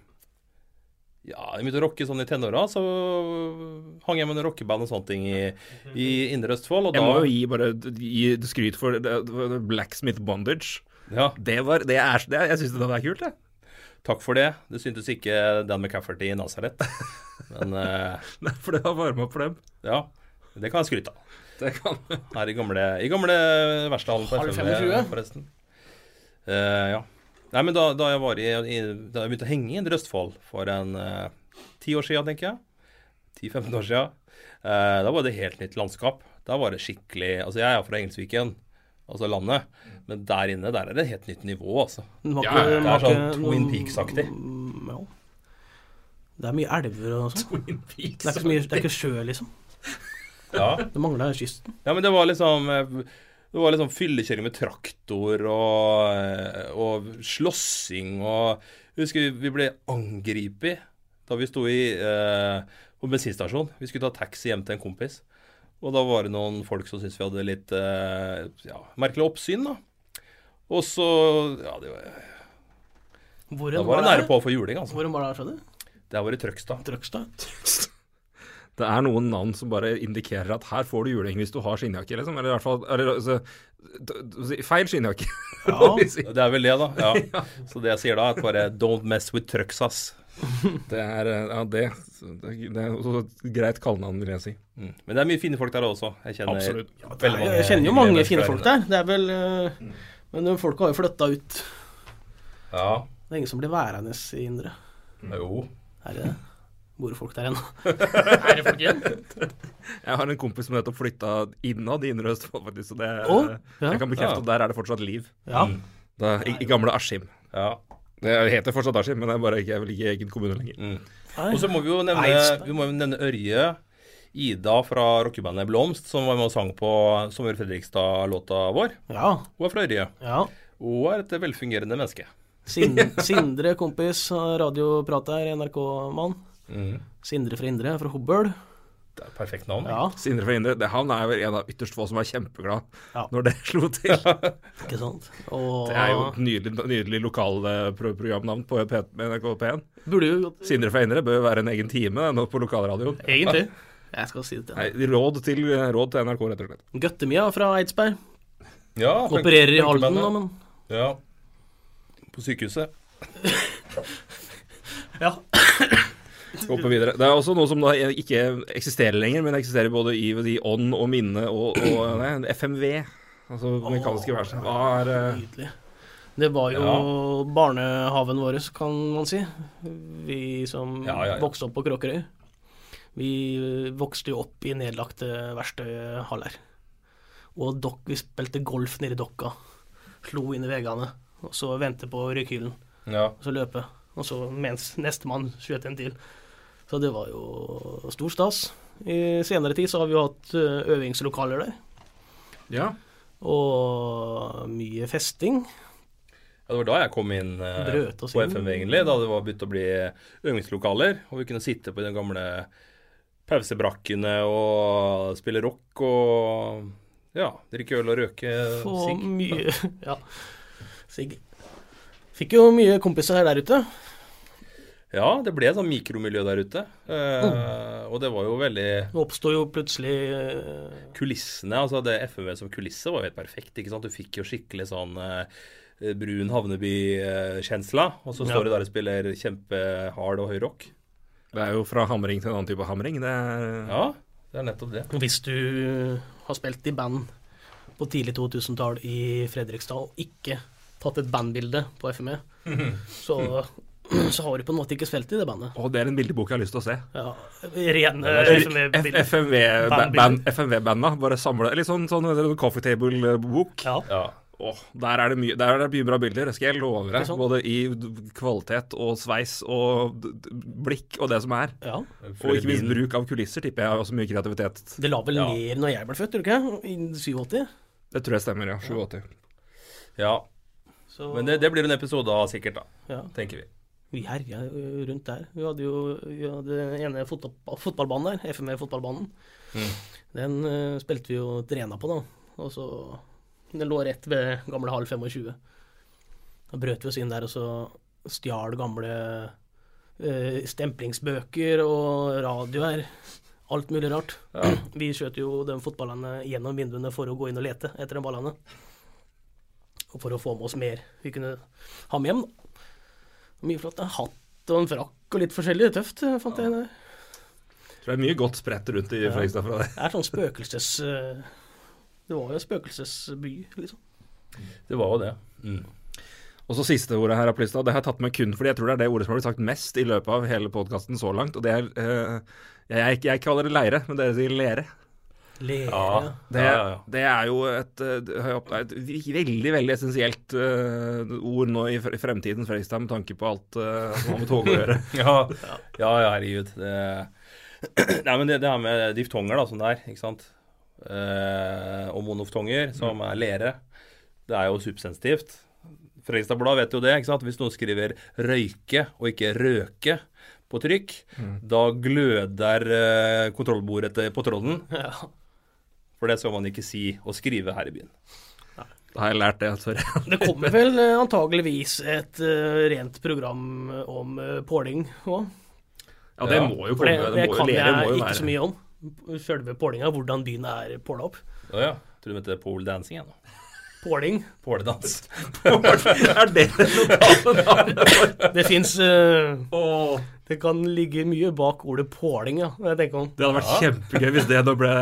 [SPEAKER 1] Ja, jeg begynte å rocke sånn i tenåra, så hang jeg med noen rockeband og sånne ting i, i Indre Østfold, og da
[SPEAKER 3] Jeg må jo gi, bare, gi skryt for det- det- Blacksmith Bondage.
[SPEAKER 1] Ja,
[SPEAKER 3] Det var, det er, det, jeg syns det er kult, jeg.
[SPEAKER 1] takk for det. Det syntes ikke Dan McCafferty i Nazaret. Men eh,
[SPEAKER 3] Nei, For det har varma opp for dem.
[SPEAKER 1] ja, det kan jeg skryte av.
[SPEAKER 3] Det kan
[SPEAKER 1] Her i gamle, i gamle verkstedhallen på
[SPEAKER 2] Halv
[SPEAKER 1] FM,
[SPEAKER 2] 25.
[SPEAKER 1] forresten. Eh, ja. Nei, men da, da jeg var i, i Da jeg begynte å henge i Indre Østfold for en eh, ti år siden, tenker jeg. 10-15 år siden. eh, da var det helt nytt landskap. Da var det skikkelig Altså, jeg er fra Engelsviken, altså landet, men der inne, der er det et helt nytt nivå, altså.
[SPEAKER 2] Den var
[SPEAKER 3] Ja,
[SPEAKER 2] ikke-
[SPEAKER 3] det er
[SPEAKER 2] den var
[SPEAKER 1] sånn
[SPEAKER 2] ikke-
[SPEAKER 1] Twin Peaks-aktig.
[SPEAKER 2] Mm, Ja. Det er mye elver og sånn.
[SPEAKER 3] jeg.
[SPEAKER 2] Det er ikke så mye, det er ikke sjø, liksom.
[SPEAKER 1] Ja.
[SPEAKER 2] Det mangler kysten.
[SPEAKER 1] Ja, men det var liksom eh, Det var liksom fyllekjøring med traktor og, eh, og slåssing og Jeg husker vi, vi ble angrepet da vi sto i, eh, på bensinstasjonen. Vi skulle ta taxi hjem til en kompis. Og da var det noen folk som syntes vi hadde litt eh, ja, merkelig oppsyn, da. Og så Ja, det var,
[SPEAKER 2] Hvor
[SPEAKER 1] da
[SPEAKER 2] en
[SPEAKER 1] var det
[SPEAKER 2] var
[SPEAKER 1] nære
[SPEAKER 2] det?
[SPEAKER 1] på å få juling, altså.
[SPEAKER 2] Hvor en var det, skjønner du?
[SPEAKER 1] Det var i Trøgstad.
[SPEAKER 2] Trøgstad.
[SPEAKER 3] Det er noen navn som bare indikerer at her får du juling hvis du har skinnjakke, liksom. Eller i hvert fall eller, altså, d- d- Feil skinnjakke.
[SPEAKER 2] Ja.
[SPEAKER 3] må vi si.
[SPEAKER 1] Det er vel det, da. Ja. Så det jeg sier da, er bare don't mess with Trøgsas.
[SPEAKER 3] Det er eh, Ja, det, det er også et greit kallenavn, vil jeg si.
[SPEAKER 1] Mm. Men det er mye fine folk der også. Jeg kjenner
[SPEAKER 3] Absolutt.
[SPEAKER 1] veldig mange. Mm.
[SPEAKER 2] Jeg kjenner jo mange
[SPEAKER 1] hyggelig
[SPEAKER 2] fine
[SPEAKER 1] mennesker
[SPEAKER 2] folk der. Det er vel eh, Men de folka har jo flytta ut.
[SPEAKER 1] Ja,
[SPEAKER 2] Det er ingen som blir værende i Indre.
[SPEAKER 1] jo.
[SPEAKER 2] Er det det? Bor det folk der ennå? er det folk igjen?
[SPEAKER 3] Jeg har en kompis som nettopp flytta innad i Indre Østfold, faktisk. Så det,
[SPEAKER 2] Å, ja.
[SPEAKER 3] jeg kan bekrefte at der er det fortsatt liv.
[SPEAKER 2] Ja.
[SPEAKER 3] Da, i, I gamle Askim.
[SPEAKER 1] Ja.
[SPEAKER 3] Det heter fortsatt Askim, men det er bare ikke, jeg vil ikke i egen kommune lenger.
[SPEAKER 2] Nei.
[SPEAKER 1] Og så må vi jo nevne,
[SPEAKER 2] Eidsberg.
[SPEAKER 1] vi må jo nevne Ørje. Ida fra rockebandet Blomst, som var med og sang på Sommer Fredrikstad-låta vår.
[SPEAKER 2] ja.
[SPEAKER 1] Hun er fra Ørje.
[SPEAKER 2] ja.
[SPEAKER 1] Hun er et velfungerende menneske.
[SPEAKER 2] Sin, Sindre, kompis, har radioprat der, NRK-mann. Sindre fra Indre, fra Hobøl.
[SPEAKER 1] Det er et perfekt navn.
[SPEAKER 2] Mhm. Ja,
[SPEAKER 3] Sindre fra Indre, det, han er vel en av ytterst få som er kjempeglad
[SPEAKER 2] Ja.
[SPEAKER 3] når det slo til.
[SPEAKER 2] ikke sant? Og
[SPEAKER 3] Det er jo et nydelig, nydelig lokalprogramnavn på P- NRK P1.
[SPEAKER 2] burde jo gått
[SPEAKER 3] Sindre fra Indre bør jo være en egen time det, nå på lokalradioen.
[SPEAKER 2] Egentlig. Jeg skal si det til deg.
[SPEAKER 3] Nei, råd til, råd til NRK, rett og slett.
[SPEAKER 2] Gøttemia fra Eidsberg.
[SPEAKER 1] Ja, punk-
[SPEAKER 2] Opererer i Halden
[SPEAKER 1] punkebandet.
[SPEAKER 2] nå, men
[SPEAKER 1] Ja. På sykehuset.
[SPEAKER 2] Ja.
[SPEAKER 3] Gå på videre. Det er også noe som da ikke eksisterer lenger, men eksisterer både i, i ånd og minne og, og nei, FMV. Altså mekaniske
[SPEAKER 2] Åh.
[SPEAKER 3] verset. Hva er eh,
[SPEAKER 2] Nydelig. Det var jo
[SPEAKER 1] Ja.
[SPEAKER 2] barnehaven vår, kan man si. Vi som
[SPEAKER 1] Ja, ja, ja.
[SPEAKER 2] vokste opp på Kråkerøy. Vi eh, vokste jo opp i nedlagte verkstedhaller. Og dok, vi spilte golf nede i dokka. Slo inn i veggene. Og så vente på røykhyllen,
[SPEAKER 1] Ja.
[SPEAKER 2] og så løpe. Og så mens nestemann skjøt en til. Så det var jo stor stas. I senere tid så har vi jo hatt eh, øvingslokaler der.
[SPEAKER 3] Ja.
[SPEAKER 2] Og mye festing.
[SPEAKER 1] Ja, Det var da jeg kom inn eh,
[SPEAKER 2] Brøt
[SPEAKER 1] på
[SPEAKER 2] oss inn.
[SPEAKER 1] FMV, egentlig. Da det var begynt å bli øvingslokaler. Og vi kunne sitte på de gamle pausebrakkene og spille rock og ja, drikke øl og røyke
[SPEAKER 2] Få
[SPEAKER 1] sigg.
[SPEAKER 2] mye Ja. Sigg. Fikk jo mye kompiser der ute.
[SPEAKER 1] Ja, det ble et sånt mikromiljø der ute. Eh,
[SPEAKER 2] Oh.
[SPEAKER 1] Og det var jo veldig
[SPEAKER 2] Det oppsto jo plutselig eh,
[SPEAKER 1] Kulissene, altså det FMV som kulisse var jo helt perfekt. ikke sant? Du fikk jo skikkelig sånn eh, brun havneby-kjensla. Og så
[SPEAKER 2] Ja.
[SPEAKER 1] står du der og spiller kjempehard og høy rock.
[SPEAKER 3] Det er jo fra hamring til en annen type hamring. Det er
[SPEAKER 1] Ja, det er nettopp det.
[SPEAKER 2] Hvis du har spilt i band på tidlig 2000-tall i Fredrikstad og ikke tatt et bandbilde på FME,
[SPEAKER 1] Mhm.
[SPEAKER 2] så, så har du på en måte ikke spilt i det bandet.
[SPEAKER 3] Å, det er en bildebok jeg har lyst til å se.
[SPEAKER 2] Ja, eh, Rene FME-bilder. Bandbilder.
[SPEAKER 3] FMV-banda. Bare samle Litt sånn, sånn hva heter det, coffee table-bok.
[SPEAKER 2] Ja.
[SPEAKER 1] Ja.
[SPEAKER 3] Åh, der er det mye Der er det mye bra bilder, det skal jeg love deg.
[SPEAKER 2] Ikke sant?
[SPEAKER 3] Både i d- kvalitet og sveis og d- d- blikk og det som er.
[SPEAKER 2] ja.
[SPEAKER 3] Og ikke minst bruk av kulisser, tipper jeg. Også mye kreativitet.
[SPEAKER 2] Det la vel
[SPEAKER 1] Ja.
[SPEAKER 2] mer når jeg ble født, tror du ikke? I 87?
[SPEAKER 3] Det tror jeg stemmer, ja. 87.
[SPEAKER 1] Ja,
[SPEAKER 2] Så
[SPEAKER 1] men det, det blir en episode av sikkert, da.
[SPEAKER 2] ja.
[SPEAKER 1] Tenker vi.
[SPEAKER 2] Vi herja ø, rundt der. Vi hadde jo vi hadde den ene fotball, fotballbanen der, FME-fotballbanen. Den ø, spilte vi jo trena på, da. Og så Den lå rett ved gamle hall 25. Da brøt vi oss inn der, og så stjal gamle ø, stemplingsbøker og radioer. Alt mulig rart. Vi skjøt jo de fotballene gjennom vinduene for å gå inn og lete etter de ballene. Og for å få med oss mer vi kunne ha med hjem, da. Mye flott. En hatt og en frakk og litt forskjellig. Det er tøft, eh, fant jeg. der.
[SPEAKER 3] Tror det er mye godt spredt rundt i Fredrikstad fra det.
[SPEAKER 2] Det er sånn spøkelses... eh, Det var jo en spøkelsesby, liksom.
[SPEAKER 1] Det var jo det. Mm.
[SPEAKER 3] Og så siste ordet her, Plystad. Det har jeg tatt med kun fordi jeg tror det er det ordet som har blitt sagt mest i løpet av hele podkasten så langt. Og det er eh, jeg, jeg, jeg kaller det leire, men dere sier lere.
[SPEAKER 2] Lere.
[SPEAKER 1] Ja.
[SPEAKER 3] Det,
[SPEAKER 1] ja, ja, ja.
[SPEAKER 3] det er jo et, eh, det har jeg opp- et vi- veldig veldig essensielt eh, ord nå i fre- fremtiden, Fredrikstad, med tanke på alt eh, som har med tog å gjøre.
[SPEAKER 1] Ja, ja, ja herregud. Det... Nei, men det, det her med diftonger, da, som det er, ikke sant. Eh, og monoftonger, som er lere. Det er jo subsensitivt. Fredrikstad Blad vet jo det, ikke sant. Hvis noen skriver 'røyke' og ikke 'røke' på trykk, da gløder eh, kontrollbordet til på tråden.
[SPEAKER 2] Ja.
[SPEAKER 1] For det skal man ikke si og skrive her i byen.
[SPEAKER 3] Da har jeg lært det, sorry.
[SPEAKER 2] Det kommer vel eh, antageligvis et eh, rent program om eh, påling òg.
[SPEAKER 3] Ja, det
[SPEAKER 1] Ja.
[SPEAKER 3] må jo
[SPEAKER 2] For det,
[SPEAKER 3] komme.
[SPEAKER 2] det
[SPEAKER 3] Det må,
[SPEAKER 2] kan
[SPEAKER 3] lere
[SPEAKER 2] jeg
[SPEAKER 3] må jo
[SPEAKER 2] ikke så
[SPEAKER 3] være
[SPEAKER 2] mye om. Selve pålinga, hvordan byen er påla opp.
[SPEAKER 1] Å ja. Tror du mente pole dancing ennå?
[SPEAKER 2] Påling.
[SPEAKER 1] Påledans.
[SPEAKER 3] Er det det lokale navnet?
[SPEAKER 2] Det fins
[SPEAKER 3] Åh,
[SPEAKER 2] Det kan ligge mye bak ordet påling, ja. når Jeg tenker om.
[SPEAKER 3] Det hadde vært kjempegøy hvis det nå ble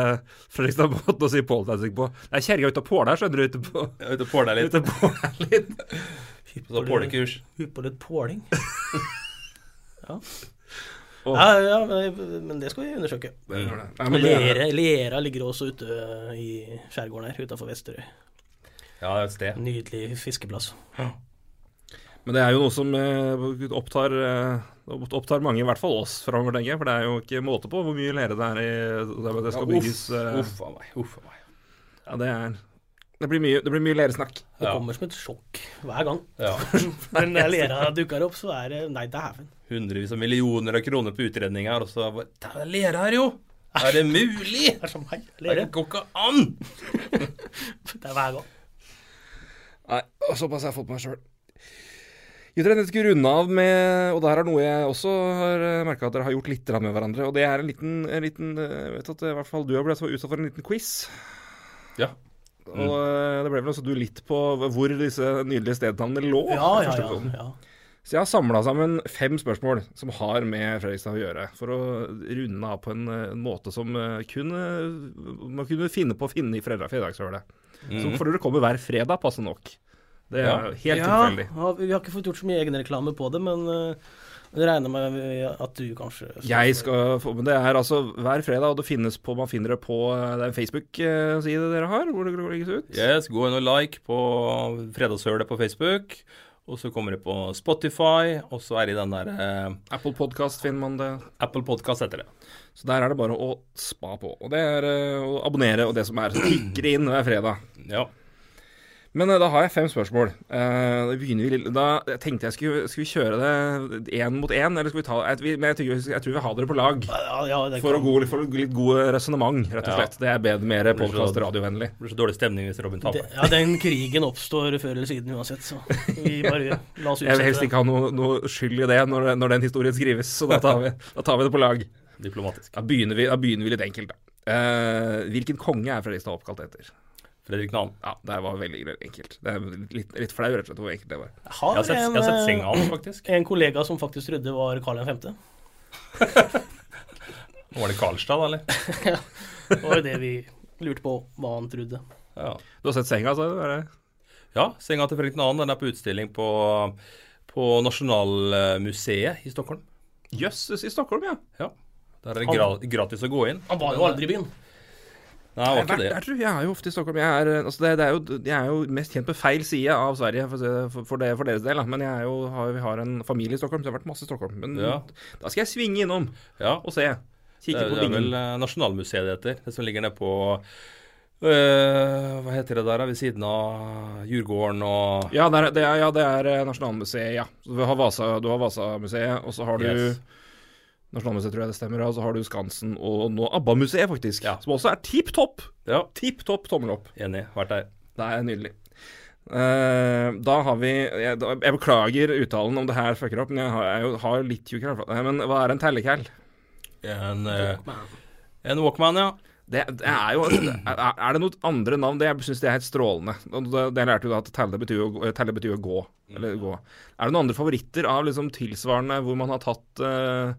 [SPEAKER 3] Fredrikstad-måten å si påldancing på. Det er kjerringa ute og påler her, skjønner du. Ute på,
[SPEAKER 1] Ut og påle deg litt.
[SPEAKER 3] ute og påler litt.
[SPEAKER 1] Og så pålekurs.
[SPEAKER 2] Hypp på litt påling. ja.
[SPEAKER 3] Åh.
[SPEAKER 2] Ja, ja, men, men det skal vi undersøke.
[SPEAKER 3] Nei, men det,
[SPEAKER 2] Lera, Lera ligger også ute i skjærgården her, utafor Vesterøy.
[SPEAKER 1] Ja, det er et sted.
[SPEAKER 2] Nydelig fiskeplass.
[SPEAKER 3] men det er jo noe som eh, opptar, eh, opptar mange, i hvert fall oss, framover, tenker jeg. For det er jo ikke måte på hvor mye lere det er i der det
[SPEAKER 1] Ja,
[SPEAKER 3] skal
[SPEAKER 1] uff,
[SPEAKER 3] bygges. eh,
[SPEAKER 1] Uff a meg. Uff a meg.
[SPEAKER 3] Ja, det er Det blir mye, det blir mye leresnakk.
[SPEAKER 2] Det
[SPEAKER 1] Ja.
[SPEAKER 2] kommer som et sjokk hver gang.
[SPEAKER 1] Ja.
[SPEAKER 2] Men når Lera dukker opp, så er det Nei, dæven.
[SPEAKER 1] Hundrevis av millioner av kroner på utredning her, og så bare Det er lere her, jo! Er det mulig?
[SPEAKER 2] Det er som meg.
[SPEAKER 1] Det
[SPEAKER 2] Lere.
[SPEAKER 1] går ikke an!
[SPEAKER 2] Det er hver gang.
[SPEAKER 3] Nei, og såpass har jeg fått på meg sjøl. Jeg tror jeg skal runde av med Og det her er noe jeg også har merka at dere har gjort litt grann med hverandre. Og det er en liten, en liten eh, Jeg vet at eh, i hvert fall du har blitt utsatt for en liten quiz.
[SPEAKER 1] Ja.
[SPEAKER 3] Og eh, det ble vel også du litt på hvor disse nydelige stednavnene lå.
[SPEAKER 2] Ja,
[SPEAKER 3] i
[SPEAKER 2] ja,
[SPEAKER 3] første
[SPEAKER 2] ja.
[SPEAKER 3] episoden.
[SPEAKER 2] ja.
[SPEAKER 3] Så jeg har samla sammen fem spørsmål som har med Fredrikstad å gjøre. For å runde av på en, eh, en måte som eh, kun eh, man kunne finne på å finne i fredag- fredagshølet. Så får dere komme hver fredag, passe nok. Det er
[SPEAKER 1] Ja.
[SPEAKER 3] helt
[SPEAKER 2] ja,
[SPEAKER 3] tilfeldig.
[SPEAKER 2] ja, vi har ikke fått gjort så mye egenreklame på det, men uh, jeg regner med at du kanskje
[SPEAKER 3] Jeg skal få, men Det er altså hver fredag, og det finnes på, man finner det på eh, det er en Facebook-side dere har, hvor det legges ut.
[SPEAKER 1] Yes, gå inn og like på Fredagshølet på Facebook. Og så kommer det på Spotify, og så er det i den der eh,
[SPEAKER 3] Apple Podcast finner man det.
[SPEAKER 1] Apple Podcast heter det.
[SPEAKER 3] Så der er det bare å spa på. Og det er eh, å abonnere og det som er. Så tikker det inn hver fredag.
[SPEAKER 1] Ja.
[SPEAKER 3] Men eh, da har jeg fem spørsmål. Eh, da begynner vi litt Da jeg tenkte jeg skulle, skal vi kjøre det én mot én, eller skal vi ta jeg, vi- Men jeg, tenker, vi- jeg tror vi har dere på lag.
[SPEAKER 2] ja, ja, det
[SPEAKER 3] For å
[SPEAKER 2] kan,
[SPEAKER 3] gå for å gå litt gode resonnement, rett og
[SPEAKER 1] Ja.
[SPEAKER 3] slett. Det er bedre mer
[SPEAKER 1] blir så-
[SPEAKER 3] podkast radiovennlig.
[SPEAKER 1] Det blir så dårlig stemning hvis Robin
[SPEAKER 2] det,
[SPEAKER 1] taper.
[SPEAKER 2] ja, den krigen oppstår før eller siden uansett, så vi bare la oss
[SPEAKER 3] Jeg vil helst
[SPEAKER 2] utsette det.
[SPEAKER 3] ikke ha noe, noe skyld i det når, når den historien skrives, så da tar vi, da tar vi det på lag.
[SPEAKER 1] Diplomatisk.
[SPEAKER 3] Da begynner vi, da begynner vi litt enkelt, da. Eh, hvilken konge er Fredrikstad oppkalt etter?
[SPEAKER 1] Fredrik Nahm.
[SPEAKER 3] Ja, det var veldig enkelt. Det er litt, litt flau, rett og slett, hvor enkelt det var.
[SPEAKER 2] Jeg
[SPEAKER 1] Jeg
[SPEAKER 2] har,
[SPEAKER 1] har sett, jeg
[SPEAKER 2] en,
[SPEAKER 1] har sett
[SPEAKER 2] eh,
[SPEAKER 1] senga hans, faktisk.
[SPEAKER 2] en kollega som faktisk trodde var Karl 5.
[SPEAKER 1] Var det Karlstad, da, eller?
[SPEAKER 2] Det var det vi lurte på hva han trodde.
[SPEAKER 1] Ja.
[SPEAKER 3] Du har sett senga, sa du? er det?
[SPEAKER 1] ja senga til Fredrik Nahm den er på utstilling på, på Nasjonalmuseet i Stockholm.
[SPEAKER 3] Jøsses, i Stockholm, ja.
[SPEAKER 1] Ja. Der er det gra gratis å gå inn.
[SPEAKER 2] Han var jo aldri i byen.
[SPEAKER 1] Nei, det
[SPEAKER 3] Jeg,
[SPEAKER 1] var ikke
[SPEAKER 3] har vært
[SPEAKER 1] det.
[SPEAKER 3] der, tror jeg. jeg er jo ofte i Stockholm. Jeg er, altså det, det er jo, jeg er jo mest kjent på feil side av Sverige for, å si det- for, for, det, for deres del. Da. Men jeg er jo, har, vi har en familie i Stockholm, så jeg har vært masse i Stockholm. Men
[SPEAKER 1] Ja.
[SPEAKER 3] da skal jeg svinge innom
[SPEAKER 1] Ja.
[SPEAKER 3] og se.
[SPEAKER 1] Det
[SPEAKER 3] Kikke
[SPEAKER 1] er,
[SPEAKER 3] på
[SPEAKER 1] det er vel
[SPEAKER 3] bingen.
[SPEAKER 1] eh, Nasjonalmuseet det heter. Det som ligger nede på øh, Hva heter det der, da? ved siden av Djurgården og
[SPEAKER 3] Ja, det er, det er, ja, det er eh, Nasjonalmuseet, ja. Så Du har Vasa- du har Vasamuseet, og så har du
[SPEAKER 1] Yes.
[SPEAKER 3] Nasjonalmuseet, tror jeg det stemmer. Og så har du Skansen og nå ABBA-museet, faktisk.
[SPEAKER 1] Ja.
[SPEAKER 3] Som også er tipp topp.
[SPEAKER 1] Ja,
[SPEAKER 3] Tipp topp tommel opp.
[SPEAKER 1] enig. Vært der.
[SPEAKER 3] Det er nydelig. Eh, da har vi Jeg, da- jeg beklager uttalen om det her fucker opp, men jeg har, jeg jo- har jo litt tjukk herfra. Nei, Men hva er en tellekæl?
[SPEAKER 1] En, eh, en Walkman, ja.
[SPEAKER 3] Det, det er jo Er er det noen andre navn? Det, jeg syns det er helt strålende. Og Det, det lærte jo da at telle betyr, å gå- telle betyr å gå. Eller gå. Er det noen andre favoritter av liksom tilsvarende hvor man har tatt eh,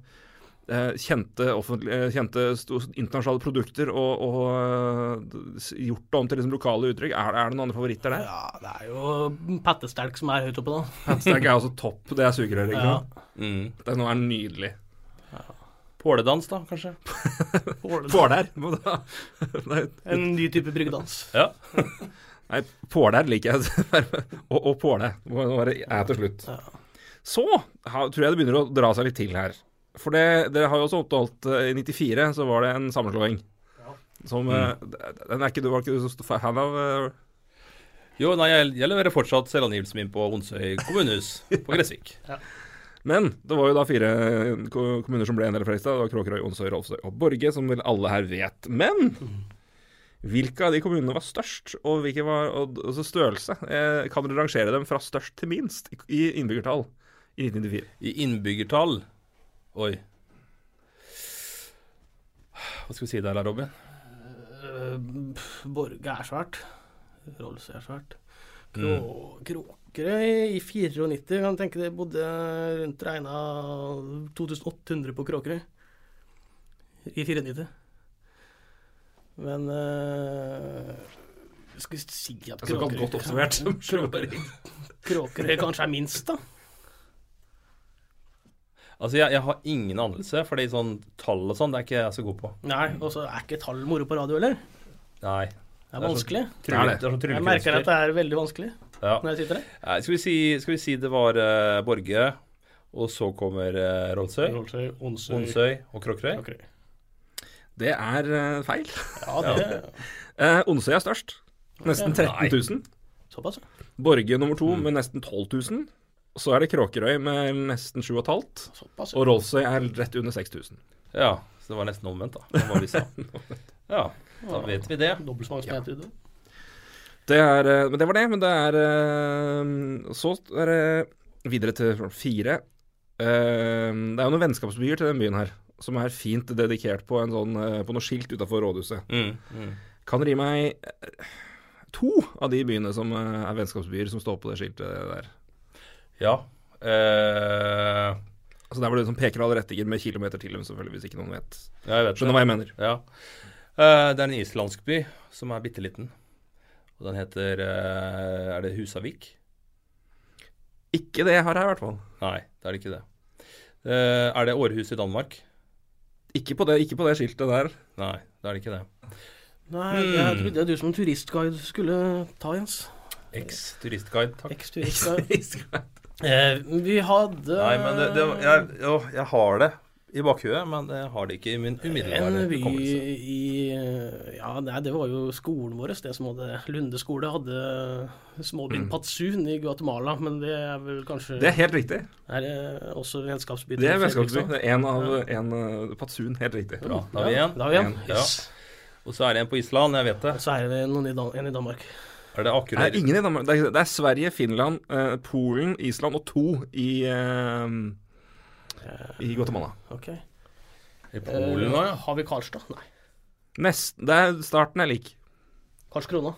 [SPEAKER 3] eh, kjente, offentlig- eh, kjente sto- internasjonale produkter og, og eh, s- gjort det om til liksom lokale uttrykk? Er, er det noen andre favoritter der?
[SPEAKER 2] Ja, det er jo Pattesterk som er høyt oppe, da.
[SPEAKER 3] Hatstack er også topp. Det er sugerøret, ikke
[SPEAKER 2] Ja.
[SPEAKER 3] sant? Det nå er den
[SPEAKER 1] Mm.
[SPEAKER 3] nydelig.
[SPEAKER 1] Påledans, da, kanskje?
[SPEAKER 3] Påler. må da- Nei,
[SPEAKER 2] En ny type bryggedans.
[SPEAKER 1] Ja.
[SPEAKER 3] nei, påler liker jeg. og og påle. Det må nå være æ til slutt.
[SPEAKER 2] Ja.
[SPEAKER 3] Så ha- tror jeg det begynner å dra seg litt til her. For det, dere har jo også oppholdt eh, I 94 så var det en sammenslåing. Som eh, Den er ikke du var ikke du så stor fan av? eh,
[SPEAKER 1] Jo, nei, jeg, jeg leverer fortsatt selvangivelsen min på Onsøy kommunehus på Gressvik.
[SPEAKER 3] Men det var jo da fire ko- kommuner som ble en del av Fredrikstad. Det var Kråkerøy, Onsøy, Rolfsøy og Borge, som vel alle her vet. Men hvilke av de kommunene var størst, og hvilke var og, altså størrelse? Eh, kan dere rangere dem fra størst til minst i- i innbyggertall i 1994?
[SPEAKER 1] I innbyggertall Oi. Hva skal vi si der, da, Robin?
[SPEAKER 2] Eh, pff, Borge er svært. Rolls er svært. Krå, Kråkerøy i 94 kan tenke det bodde rundt regna 2800 på Kråkerøy. I 94. Men eh, Skal vi si at Kråkerøy, Kråkerøy kanskje er minst, da?
[SPEAKER 1] Altså, jeg, jeg har ingen anelse, fordi sånn tall og sånn, det er ikke jeg så god på.
[SPEAKER 2] Nei, og så er ikke tall moro på radio heller.
[SPEAKER 1] Nei.
[SPEAKER 2] Det er vanskelig.
[SPEAKER 1] Det er, så, trylle- det er,
[SPEAKER 2] Jeg merker at det er veldig vanskelig
[SPEAKER 1] Ja.
[SPEAKER 2] når jeg sitter der.
[SPEAKER 1] Nei, skal, vi si, skal vi si det var eh, Borge, og så kommer uh, Rolsøy, Onsøy og Kråkerøy?
[SPEAKER 2] Ok.
[SPEAKER 3] Det er eh, feil.
[SPEAKER 2] Ja, det
[SPEAKER 3] Eh, Onsøy er størst. Nesten 13 000.
[SPEAKER 2] Såpass, ja.
[SPEAKER 3] Borge nummer to med nesten 12 000. Så er det Kråkerøy med nesten 7500.
[SPEAKER 2] Såpass, ja.
[SPEAKER 3] Og Rolsøy er rett under 6000.
[SPEAKER 1] Ja. Så det var nesten omvendt, da. Det var vi sa. Ja, da vet vi det.
[SPEAKER 2] Dobbelt så mange som jeg trodde.
[SPEAKER 3] Det er, eh, men det var det. Men det er eh, Så er det videre til fire. Eh, Det er jo noen vennskapsbyer til den byen her, som er fint dedikert på, en sånn, eh, på noe skilt utafor rådhuset.
[SPEAKER 1] Mm, mm.
[SPEAKER 3] Kan ri meg eh, to av de byene som eh, er vennskapsbyer, som står på det skiltet der.
[SPEAKER 1] Ja. eh,
[SPEAKER 3] Altså Der hvor det sånn peker alle rettinger med kilometer til dem, selvfølgelig, hvis ikke noen vet.
[SPEAKER 1] ja, jeg vet
[SPEAKER 3] Skjønner hva jeg mener.
[SPEAKER 1] Ja. Eh, det er en islandsk by som er bitte liten. Og den heter eh, Er det Husavik?
[SPEAKER 3] Ikke det her, i hvert fall.
[SPEAKER 1] Nei, det er det ikke det. Eh, er det Århus i Danmark?
[SPEAKER 3] Ikke på det, ikke på det skiltet der.
[SPEAKER 1] Nei, det er det ikke det.
[SPEAKER 2] Nei,
[SPEAKER 1] Hmm.
[SPEAKER 2] jeg trodde du som turistguide skulle ta, Jens.
[SPEAKER 1] Eks turistguide, takk.
[SPEAKER 2] Eks-turistguide. Eh, vi hadde
[SPEAKER 1] Nei, men det, det jeg, jo, jeg har det i bakhuet, men jeg har det ikke i min
[SPEAKER 2] en
[SPEAKER 1] umiddelbare
[SPEAKER 2] by
[SPEAKER 1] hukommelse.
[SPEAKER 2] i eh, Ja, nei, det var jo skolen vår, det som hadde Lunde skole, hadde
[SPEAKER 1] Hmm.
[SPEAKER 2] småbyen Patsun i Guatemala, men det er vel kanskje
[SPEAKER 3] Det er helt riktig.
[SPEAKER 2] er eh, også vennskapsby.
[SPEAKER 3] Det er vennskapsby. Det er en av en, eh, Patsun. Helt riktig.
[SPEAKER 1] Bra, da har vi en.
[SPEAKER 2] Da har vi en.
[SPEAKER 1] Ja.
[SPEAKER 2] Yes.
[SPEAKER 1] Og så er det en på Island, jeg vet det.
[SPEAKER 2] Og så er det noen i Dan en i Danmark.
[SPEAKER 1] Er det
[SPEAKER 3] Det er
[SPEAKER 1] Akureyri?
[SPEAKER 3] ingen i Danmark. Det er, det er Sverige, Finland, eh, Polen, Island og to i, eh, i Guatemala.
[SPEAKER 2] Ok. Eh,
[SPEAKER 1] I Polen nå, ja.
[SPEAKER 2] Har vi Karlstad? Nei.
[SPEAKER 3] Nest, det er starten er lik.
[SPEAKER 2] Karlskrona.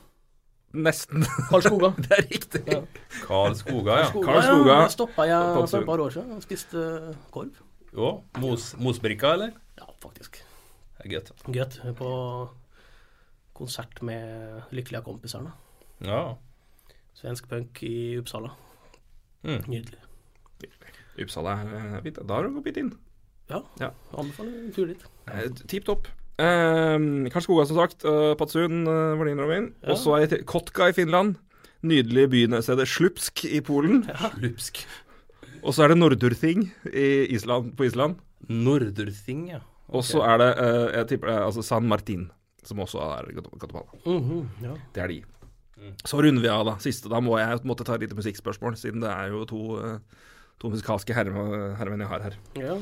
[SPEAKER 3] Nesten.
[SPEAKER 2] Karlskoga.
[SPEAKER 3] Det er riktig.
[SPEAKER 2] Ja.
[SPEAKER 1] Karl Skoga, ja.
[SPEAKER 3] Karlskoga.
[SPEAKER 2] Ja, der stoppa jeg for
[SPEAKER 3] Patsun.
[SPEAKER 2] et par år siden og spiste eh, korv.
[SPEAKER 1] Jo, Mos, Mosbrikka, eller?
[SPEAKER 2] Ja, faktisk.
[SPEAKER 1] Det er gøtt.
[SPEAKER 2] Gøt. På konsert med Lykkelige kompiserne.
[SPEAKER 1] Ja.
[SPEAKER 2] Svensk punk i Uppsala.
[SPEAKER 1] Mm.
[SPEAKER 2] Nydelig.
[SPEAKER 3] Uppsala er eh, fint. Da har du gått litt inn.
[SPEAKER 2] Ja,
[SPEAKER 3] Ja.
[SPEAKER 2] anbefaler en tur dit.
[SPEAKER 3] Eh, Tipp topp. Eh, Karlskoga, som sagt. eh, Patsun eh, var din, Robin.
[SPEAKER 2] Ja.
[SPEAKER 3] Og så er det til- Kotka i Finland. Nydelige bynestedet Slupsk i Polen.
[SPEAKER 1] Lupsk.
[SPEAKER 3] Og så er det Nordurthing i Island, på Island.
[SPEAKER 1] Norderting, ja.
[SPEAKER 3] Og så er det eh, jeg tipper, det er, altså San Martin, som også er Guate- Guatemala.
[SPEAKER 2] Mhm, ja.
[SPEAKER 3] Det er de. Så runder vi av, da. Siste. Da må jeg måtte ta et lite musikkspørsmål, siden det er jo to, eh, to musikalske herre- herremenn jeg har her.
[SPEAKER 2] ja.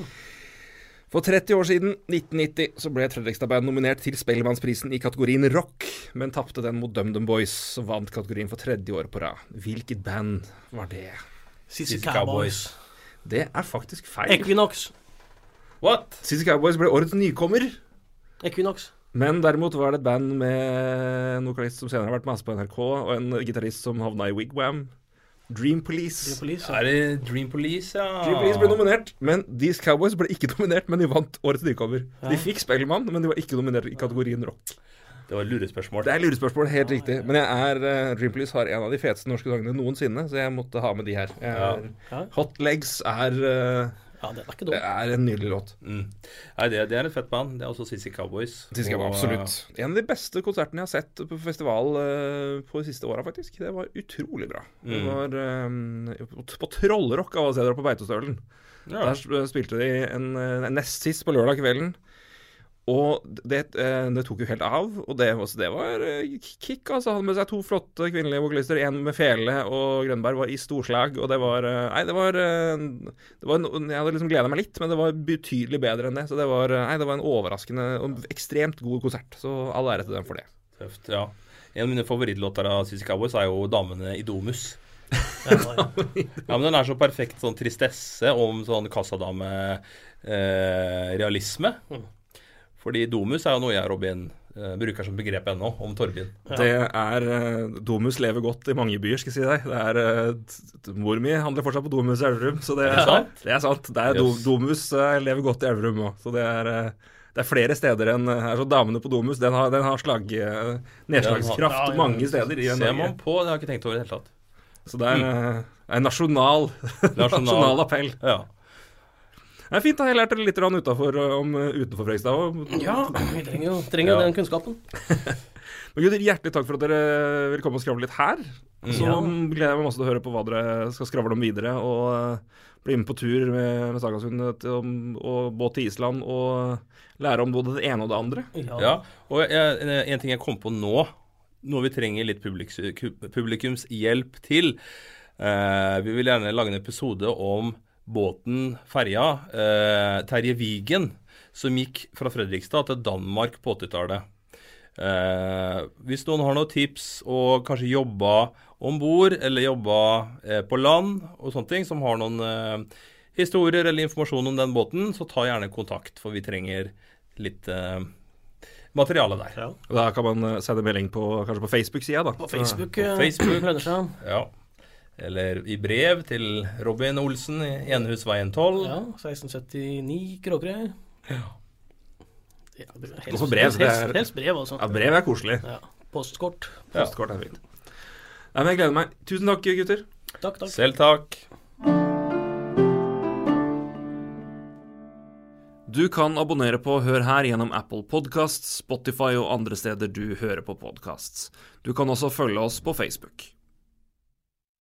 [SPEAKER 3] For 30 år siden, 1990, så ble Fredrikstad Band nominert til Spellemannsprisen i kategorien rock, men tapte den mot DumDum Boys, som vant kategorien for tredje år på rad. Hvilket band var det?
[SPEAKER 2] Sissy
[SPEAKER 1] Sissy
[SPEAKER 2] Cowboys.
[SPEAKER 3] Det er faktisk feil.
[SPEAKER 2] Equinox.
[SPEAKER 1] What?
[SPEAKER 3] Sissy Cowboys ble årets nykommer.
[SPEAKER 2] Equinox.
[SPEAKER 3] Men derimot var det et band med en vokalist som senere har vært med oss på NRK, og en gitarist som havna i Wigwam. Dream
[SPEAKER 2] Dream
[SPEAKER 3] Police.
[SPEAKER 2] Police.
[SPEAKER 1] Er det Dream Police, ja?
[SPEAKER 3] Dream
[SPEAKER 2] Ah.
[SPEAKER 3] Police ble nominert, men These Cowboys ble ikke nominert, men de vant Årets nykommer. De fikk Spellemann, men de var ikke nominert i kategorien rock.
[SPEAKER 1] Det var et lurespørsmål.
[SPEAKER 3] Det er lurespørsmål, helt riktig. Men jeg er, eh, Dream Police har en av de feteste norske sangene noensinne, så jeg måtte ha med de her. Jeg er,
[SPEAKER 2] Ja.
[SPEAKER 3] Hot Legs er, eh,
[SPEAKER 2] Ja, den er ikke
[SPEAKER 3] det
[SPEAKER 2] dum.
[SPEAKER 3] er en nydelig låt.
[SPEAKER 1] Mm. Nei, det, det er et fett band. Det er også Sissy Cowboys.
[SPEAKER 3] Sissy
[SPEAKER 1] Og,
[SPEAKER 3] Cowboys, absolutt.
[SPEAKER 2] eh,
[SPEAKER 3] En av de beste konsertene jeg har sett på festival eh, på de siste åra, faktisk. Det var utrolig bra. Det
[SPEAKER 1] Mm.
[SPEAKER 3] var eh, på- på Trollrock av alle steder på Beitostølen.
[SPEAKER 1] eh, Ja.
[SPEAKER 3] Der sp- spilte de en, eh, nest sist på lørdag kvelden. Og det, eh, det tok jo helt av, og det, var- så det var eh, kick, altså. Han hadde med seg to flotte kvinnelige vokalister, en med fele, og Grønberg var i storslag, og det var eh, Nei, det var, eh, det var en- Jeg hadde liksom gleda meg litt, men det var betydelig bedre enn det. Så det var, eh, nei, det var en overraskende og ekstremt god konsert. Så all ære til dem for det.
[SPEAKER 1] Tøft, ja. En av mine favorittlåter av Sissy Cowboys er jo 'Damene i Domus'.
[SPEAKER 2] Ja, ja.
[SPEAKER 1] Ja, men Den er så perfekt sånn tristesse om sånn kassadame-realisme.
[SPEAKER 3] Mm.
[SPEAKER 1] Fordi Domus er jo noe jeg og Robin eh, bruker som begrep ennå, om Torbind.
[SPEAKER 3] Det er eh, Domus lever godt i mange byer, skal jeg si deg. Det er eh, t- t- Mor mi handler fortsatt på Domus i Elverum, så det
[SPEAKER 1] Er det sant?
[SPEAKER 3] Det er sant. Det er
[SPEAKER 1] Yes.
[SPEAKER 3] do, Domus eh, lever godt i Elverum òg. Så det er, eh, det er flere steder enn eh, her. Så damene på Domus, den har, den har slag, eh,
[SPEAKER 1] Den
[SPEAKER 3] nedslagskraft
[SPEAKER 2] har- ja, ja.
[SPEAKER 3] mange steder i
[SPEAKER 1] Ser
[SPEAKER 3] Norge.
[SPEAKER 1] man på, det har jeg ikke tenkt over i det hele tatt.
[SPEAKER 3] Så det er eh, en nasjonal, nasjonal appell.
[SPEAKER 1] Ja.
[SPEAKER 3] Det er fint, da. Jeg lærte litt grann utenfor, eh, om eh, utenfor Frekstad òg.
[SPEAKER 2] Ja, vi trenger jo trenger jo
[SPEAKER 1] Ja.
[SPEAKER 2] den kunnskapen.
[SPEAKER 3] Men gutter, hjertelig takk for at dere vil komme og skravle litt her. Så
[SPEAKER 2] Ja.
[SPEAKER 3] gleder jeg meg masse til å høre på hva dere skal skravle om videre. Og eh, bli med på tur med, med Sagasund eh, til- om- og båt til Island og lære om både det ene og det andre.
[SPEAKER 1] Ja, og jeg, eh, en- en ting jeg kom på nå, noe vi trenger litt publiks, publikumshjelp til. Eh, vi vil gjerne lage en episode om båten, ferja, eh, Terje Vigen, som gikk fra Fredrikstad til Danmark på 80-tallet. Eh, hvis noen har noen tips og kanskje jobba om bord eller jobba eh, på land og sånne ting, som har noen eh, historier eller informasjon om den båten, så ta gjerne kontakt, for vi trenger litt eh, materiale der.
[SPEAKER 2] Ja.
[SPEAKER 3] Og Da kan man eh, sende melding på, kanskje på Facebook-sida, da.
[SPEAKER 2] På Facebook,
[SPEAKER 1] På
[SPEAKER 2] eh,
[SPEAKER 1] Facebook.
[SPEAKER 2] lønner seg.
[SPEAKER 1] Ja. Eller i brev til Robin Olsen i Enehusveien 12.
[SPEAKER 2] Ja, 1679 Kråkerøy. Ja. det er helst,
[SPEAKER 3] Også brev,
[SPEAKER 2] Helst,
[SPEAKER 3] det er-
[SPEAKER 2] helst brev, altså.
[SPEAKER 3] Ja, brev er koselig.
[SPEAKER 2] Ja. Postkort.
[SPEAKER 3] Postkort er fint. Nei, men jeg gleder meg. Tusen takk, gutter.
[SPEAKER 2] Takk, takk.
[SPEAKER 1] Selv takk.
[SPEAKER 3] Du kan abonnere på Hør her gjennom Apple Podcasts, Spotify og andre steder du hører på podcasts. Du kan også følge oss på Facebook.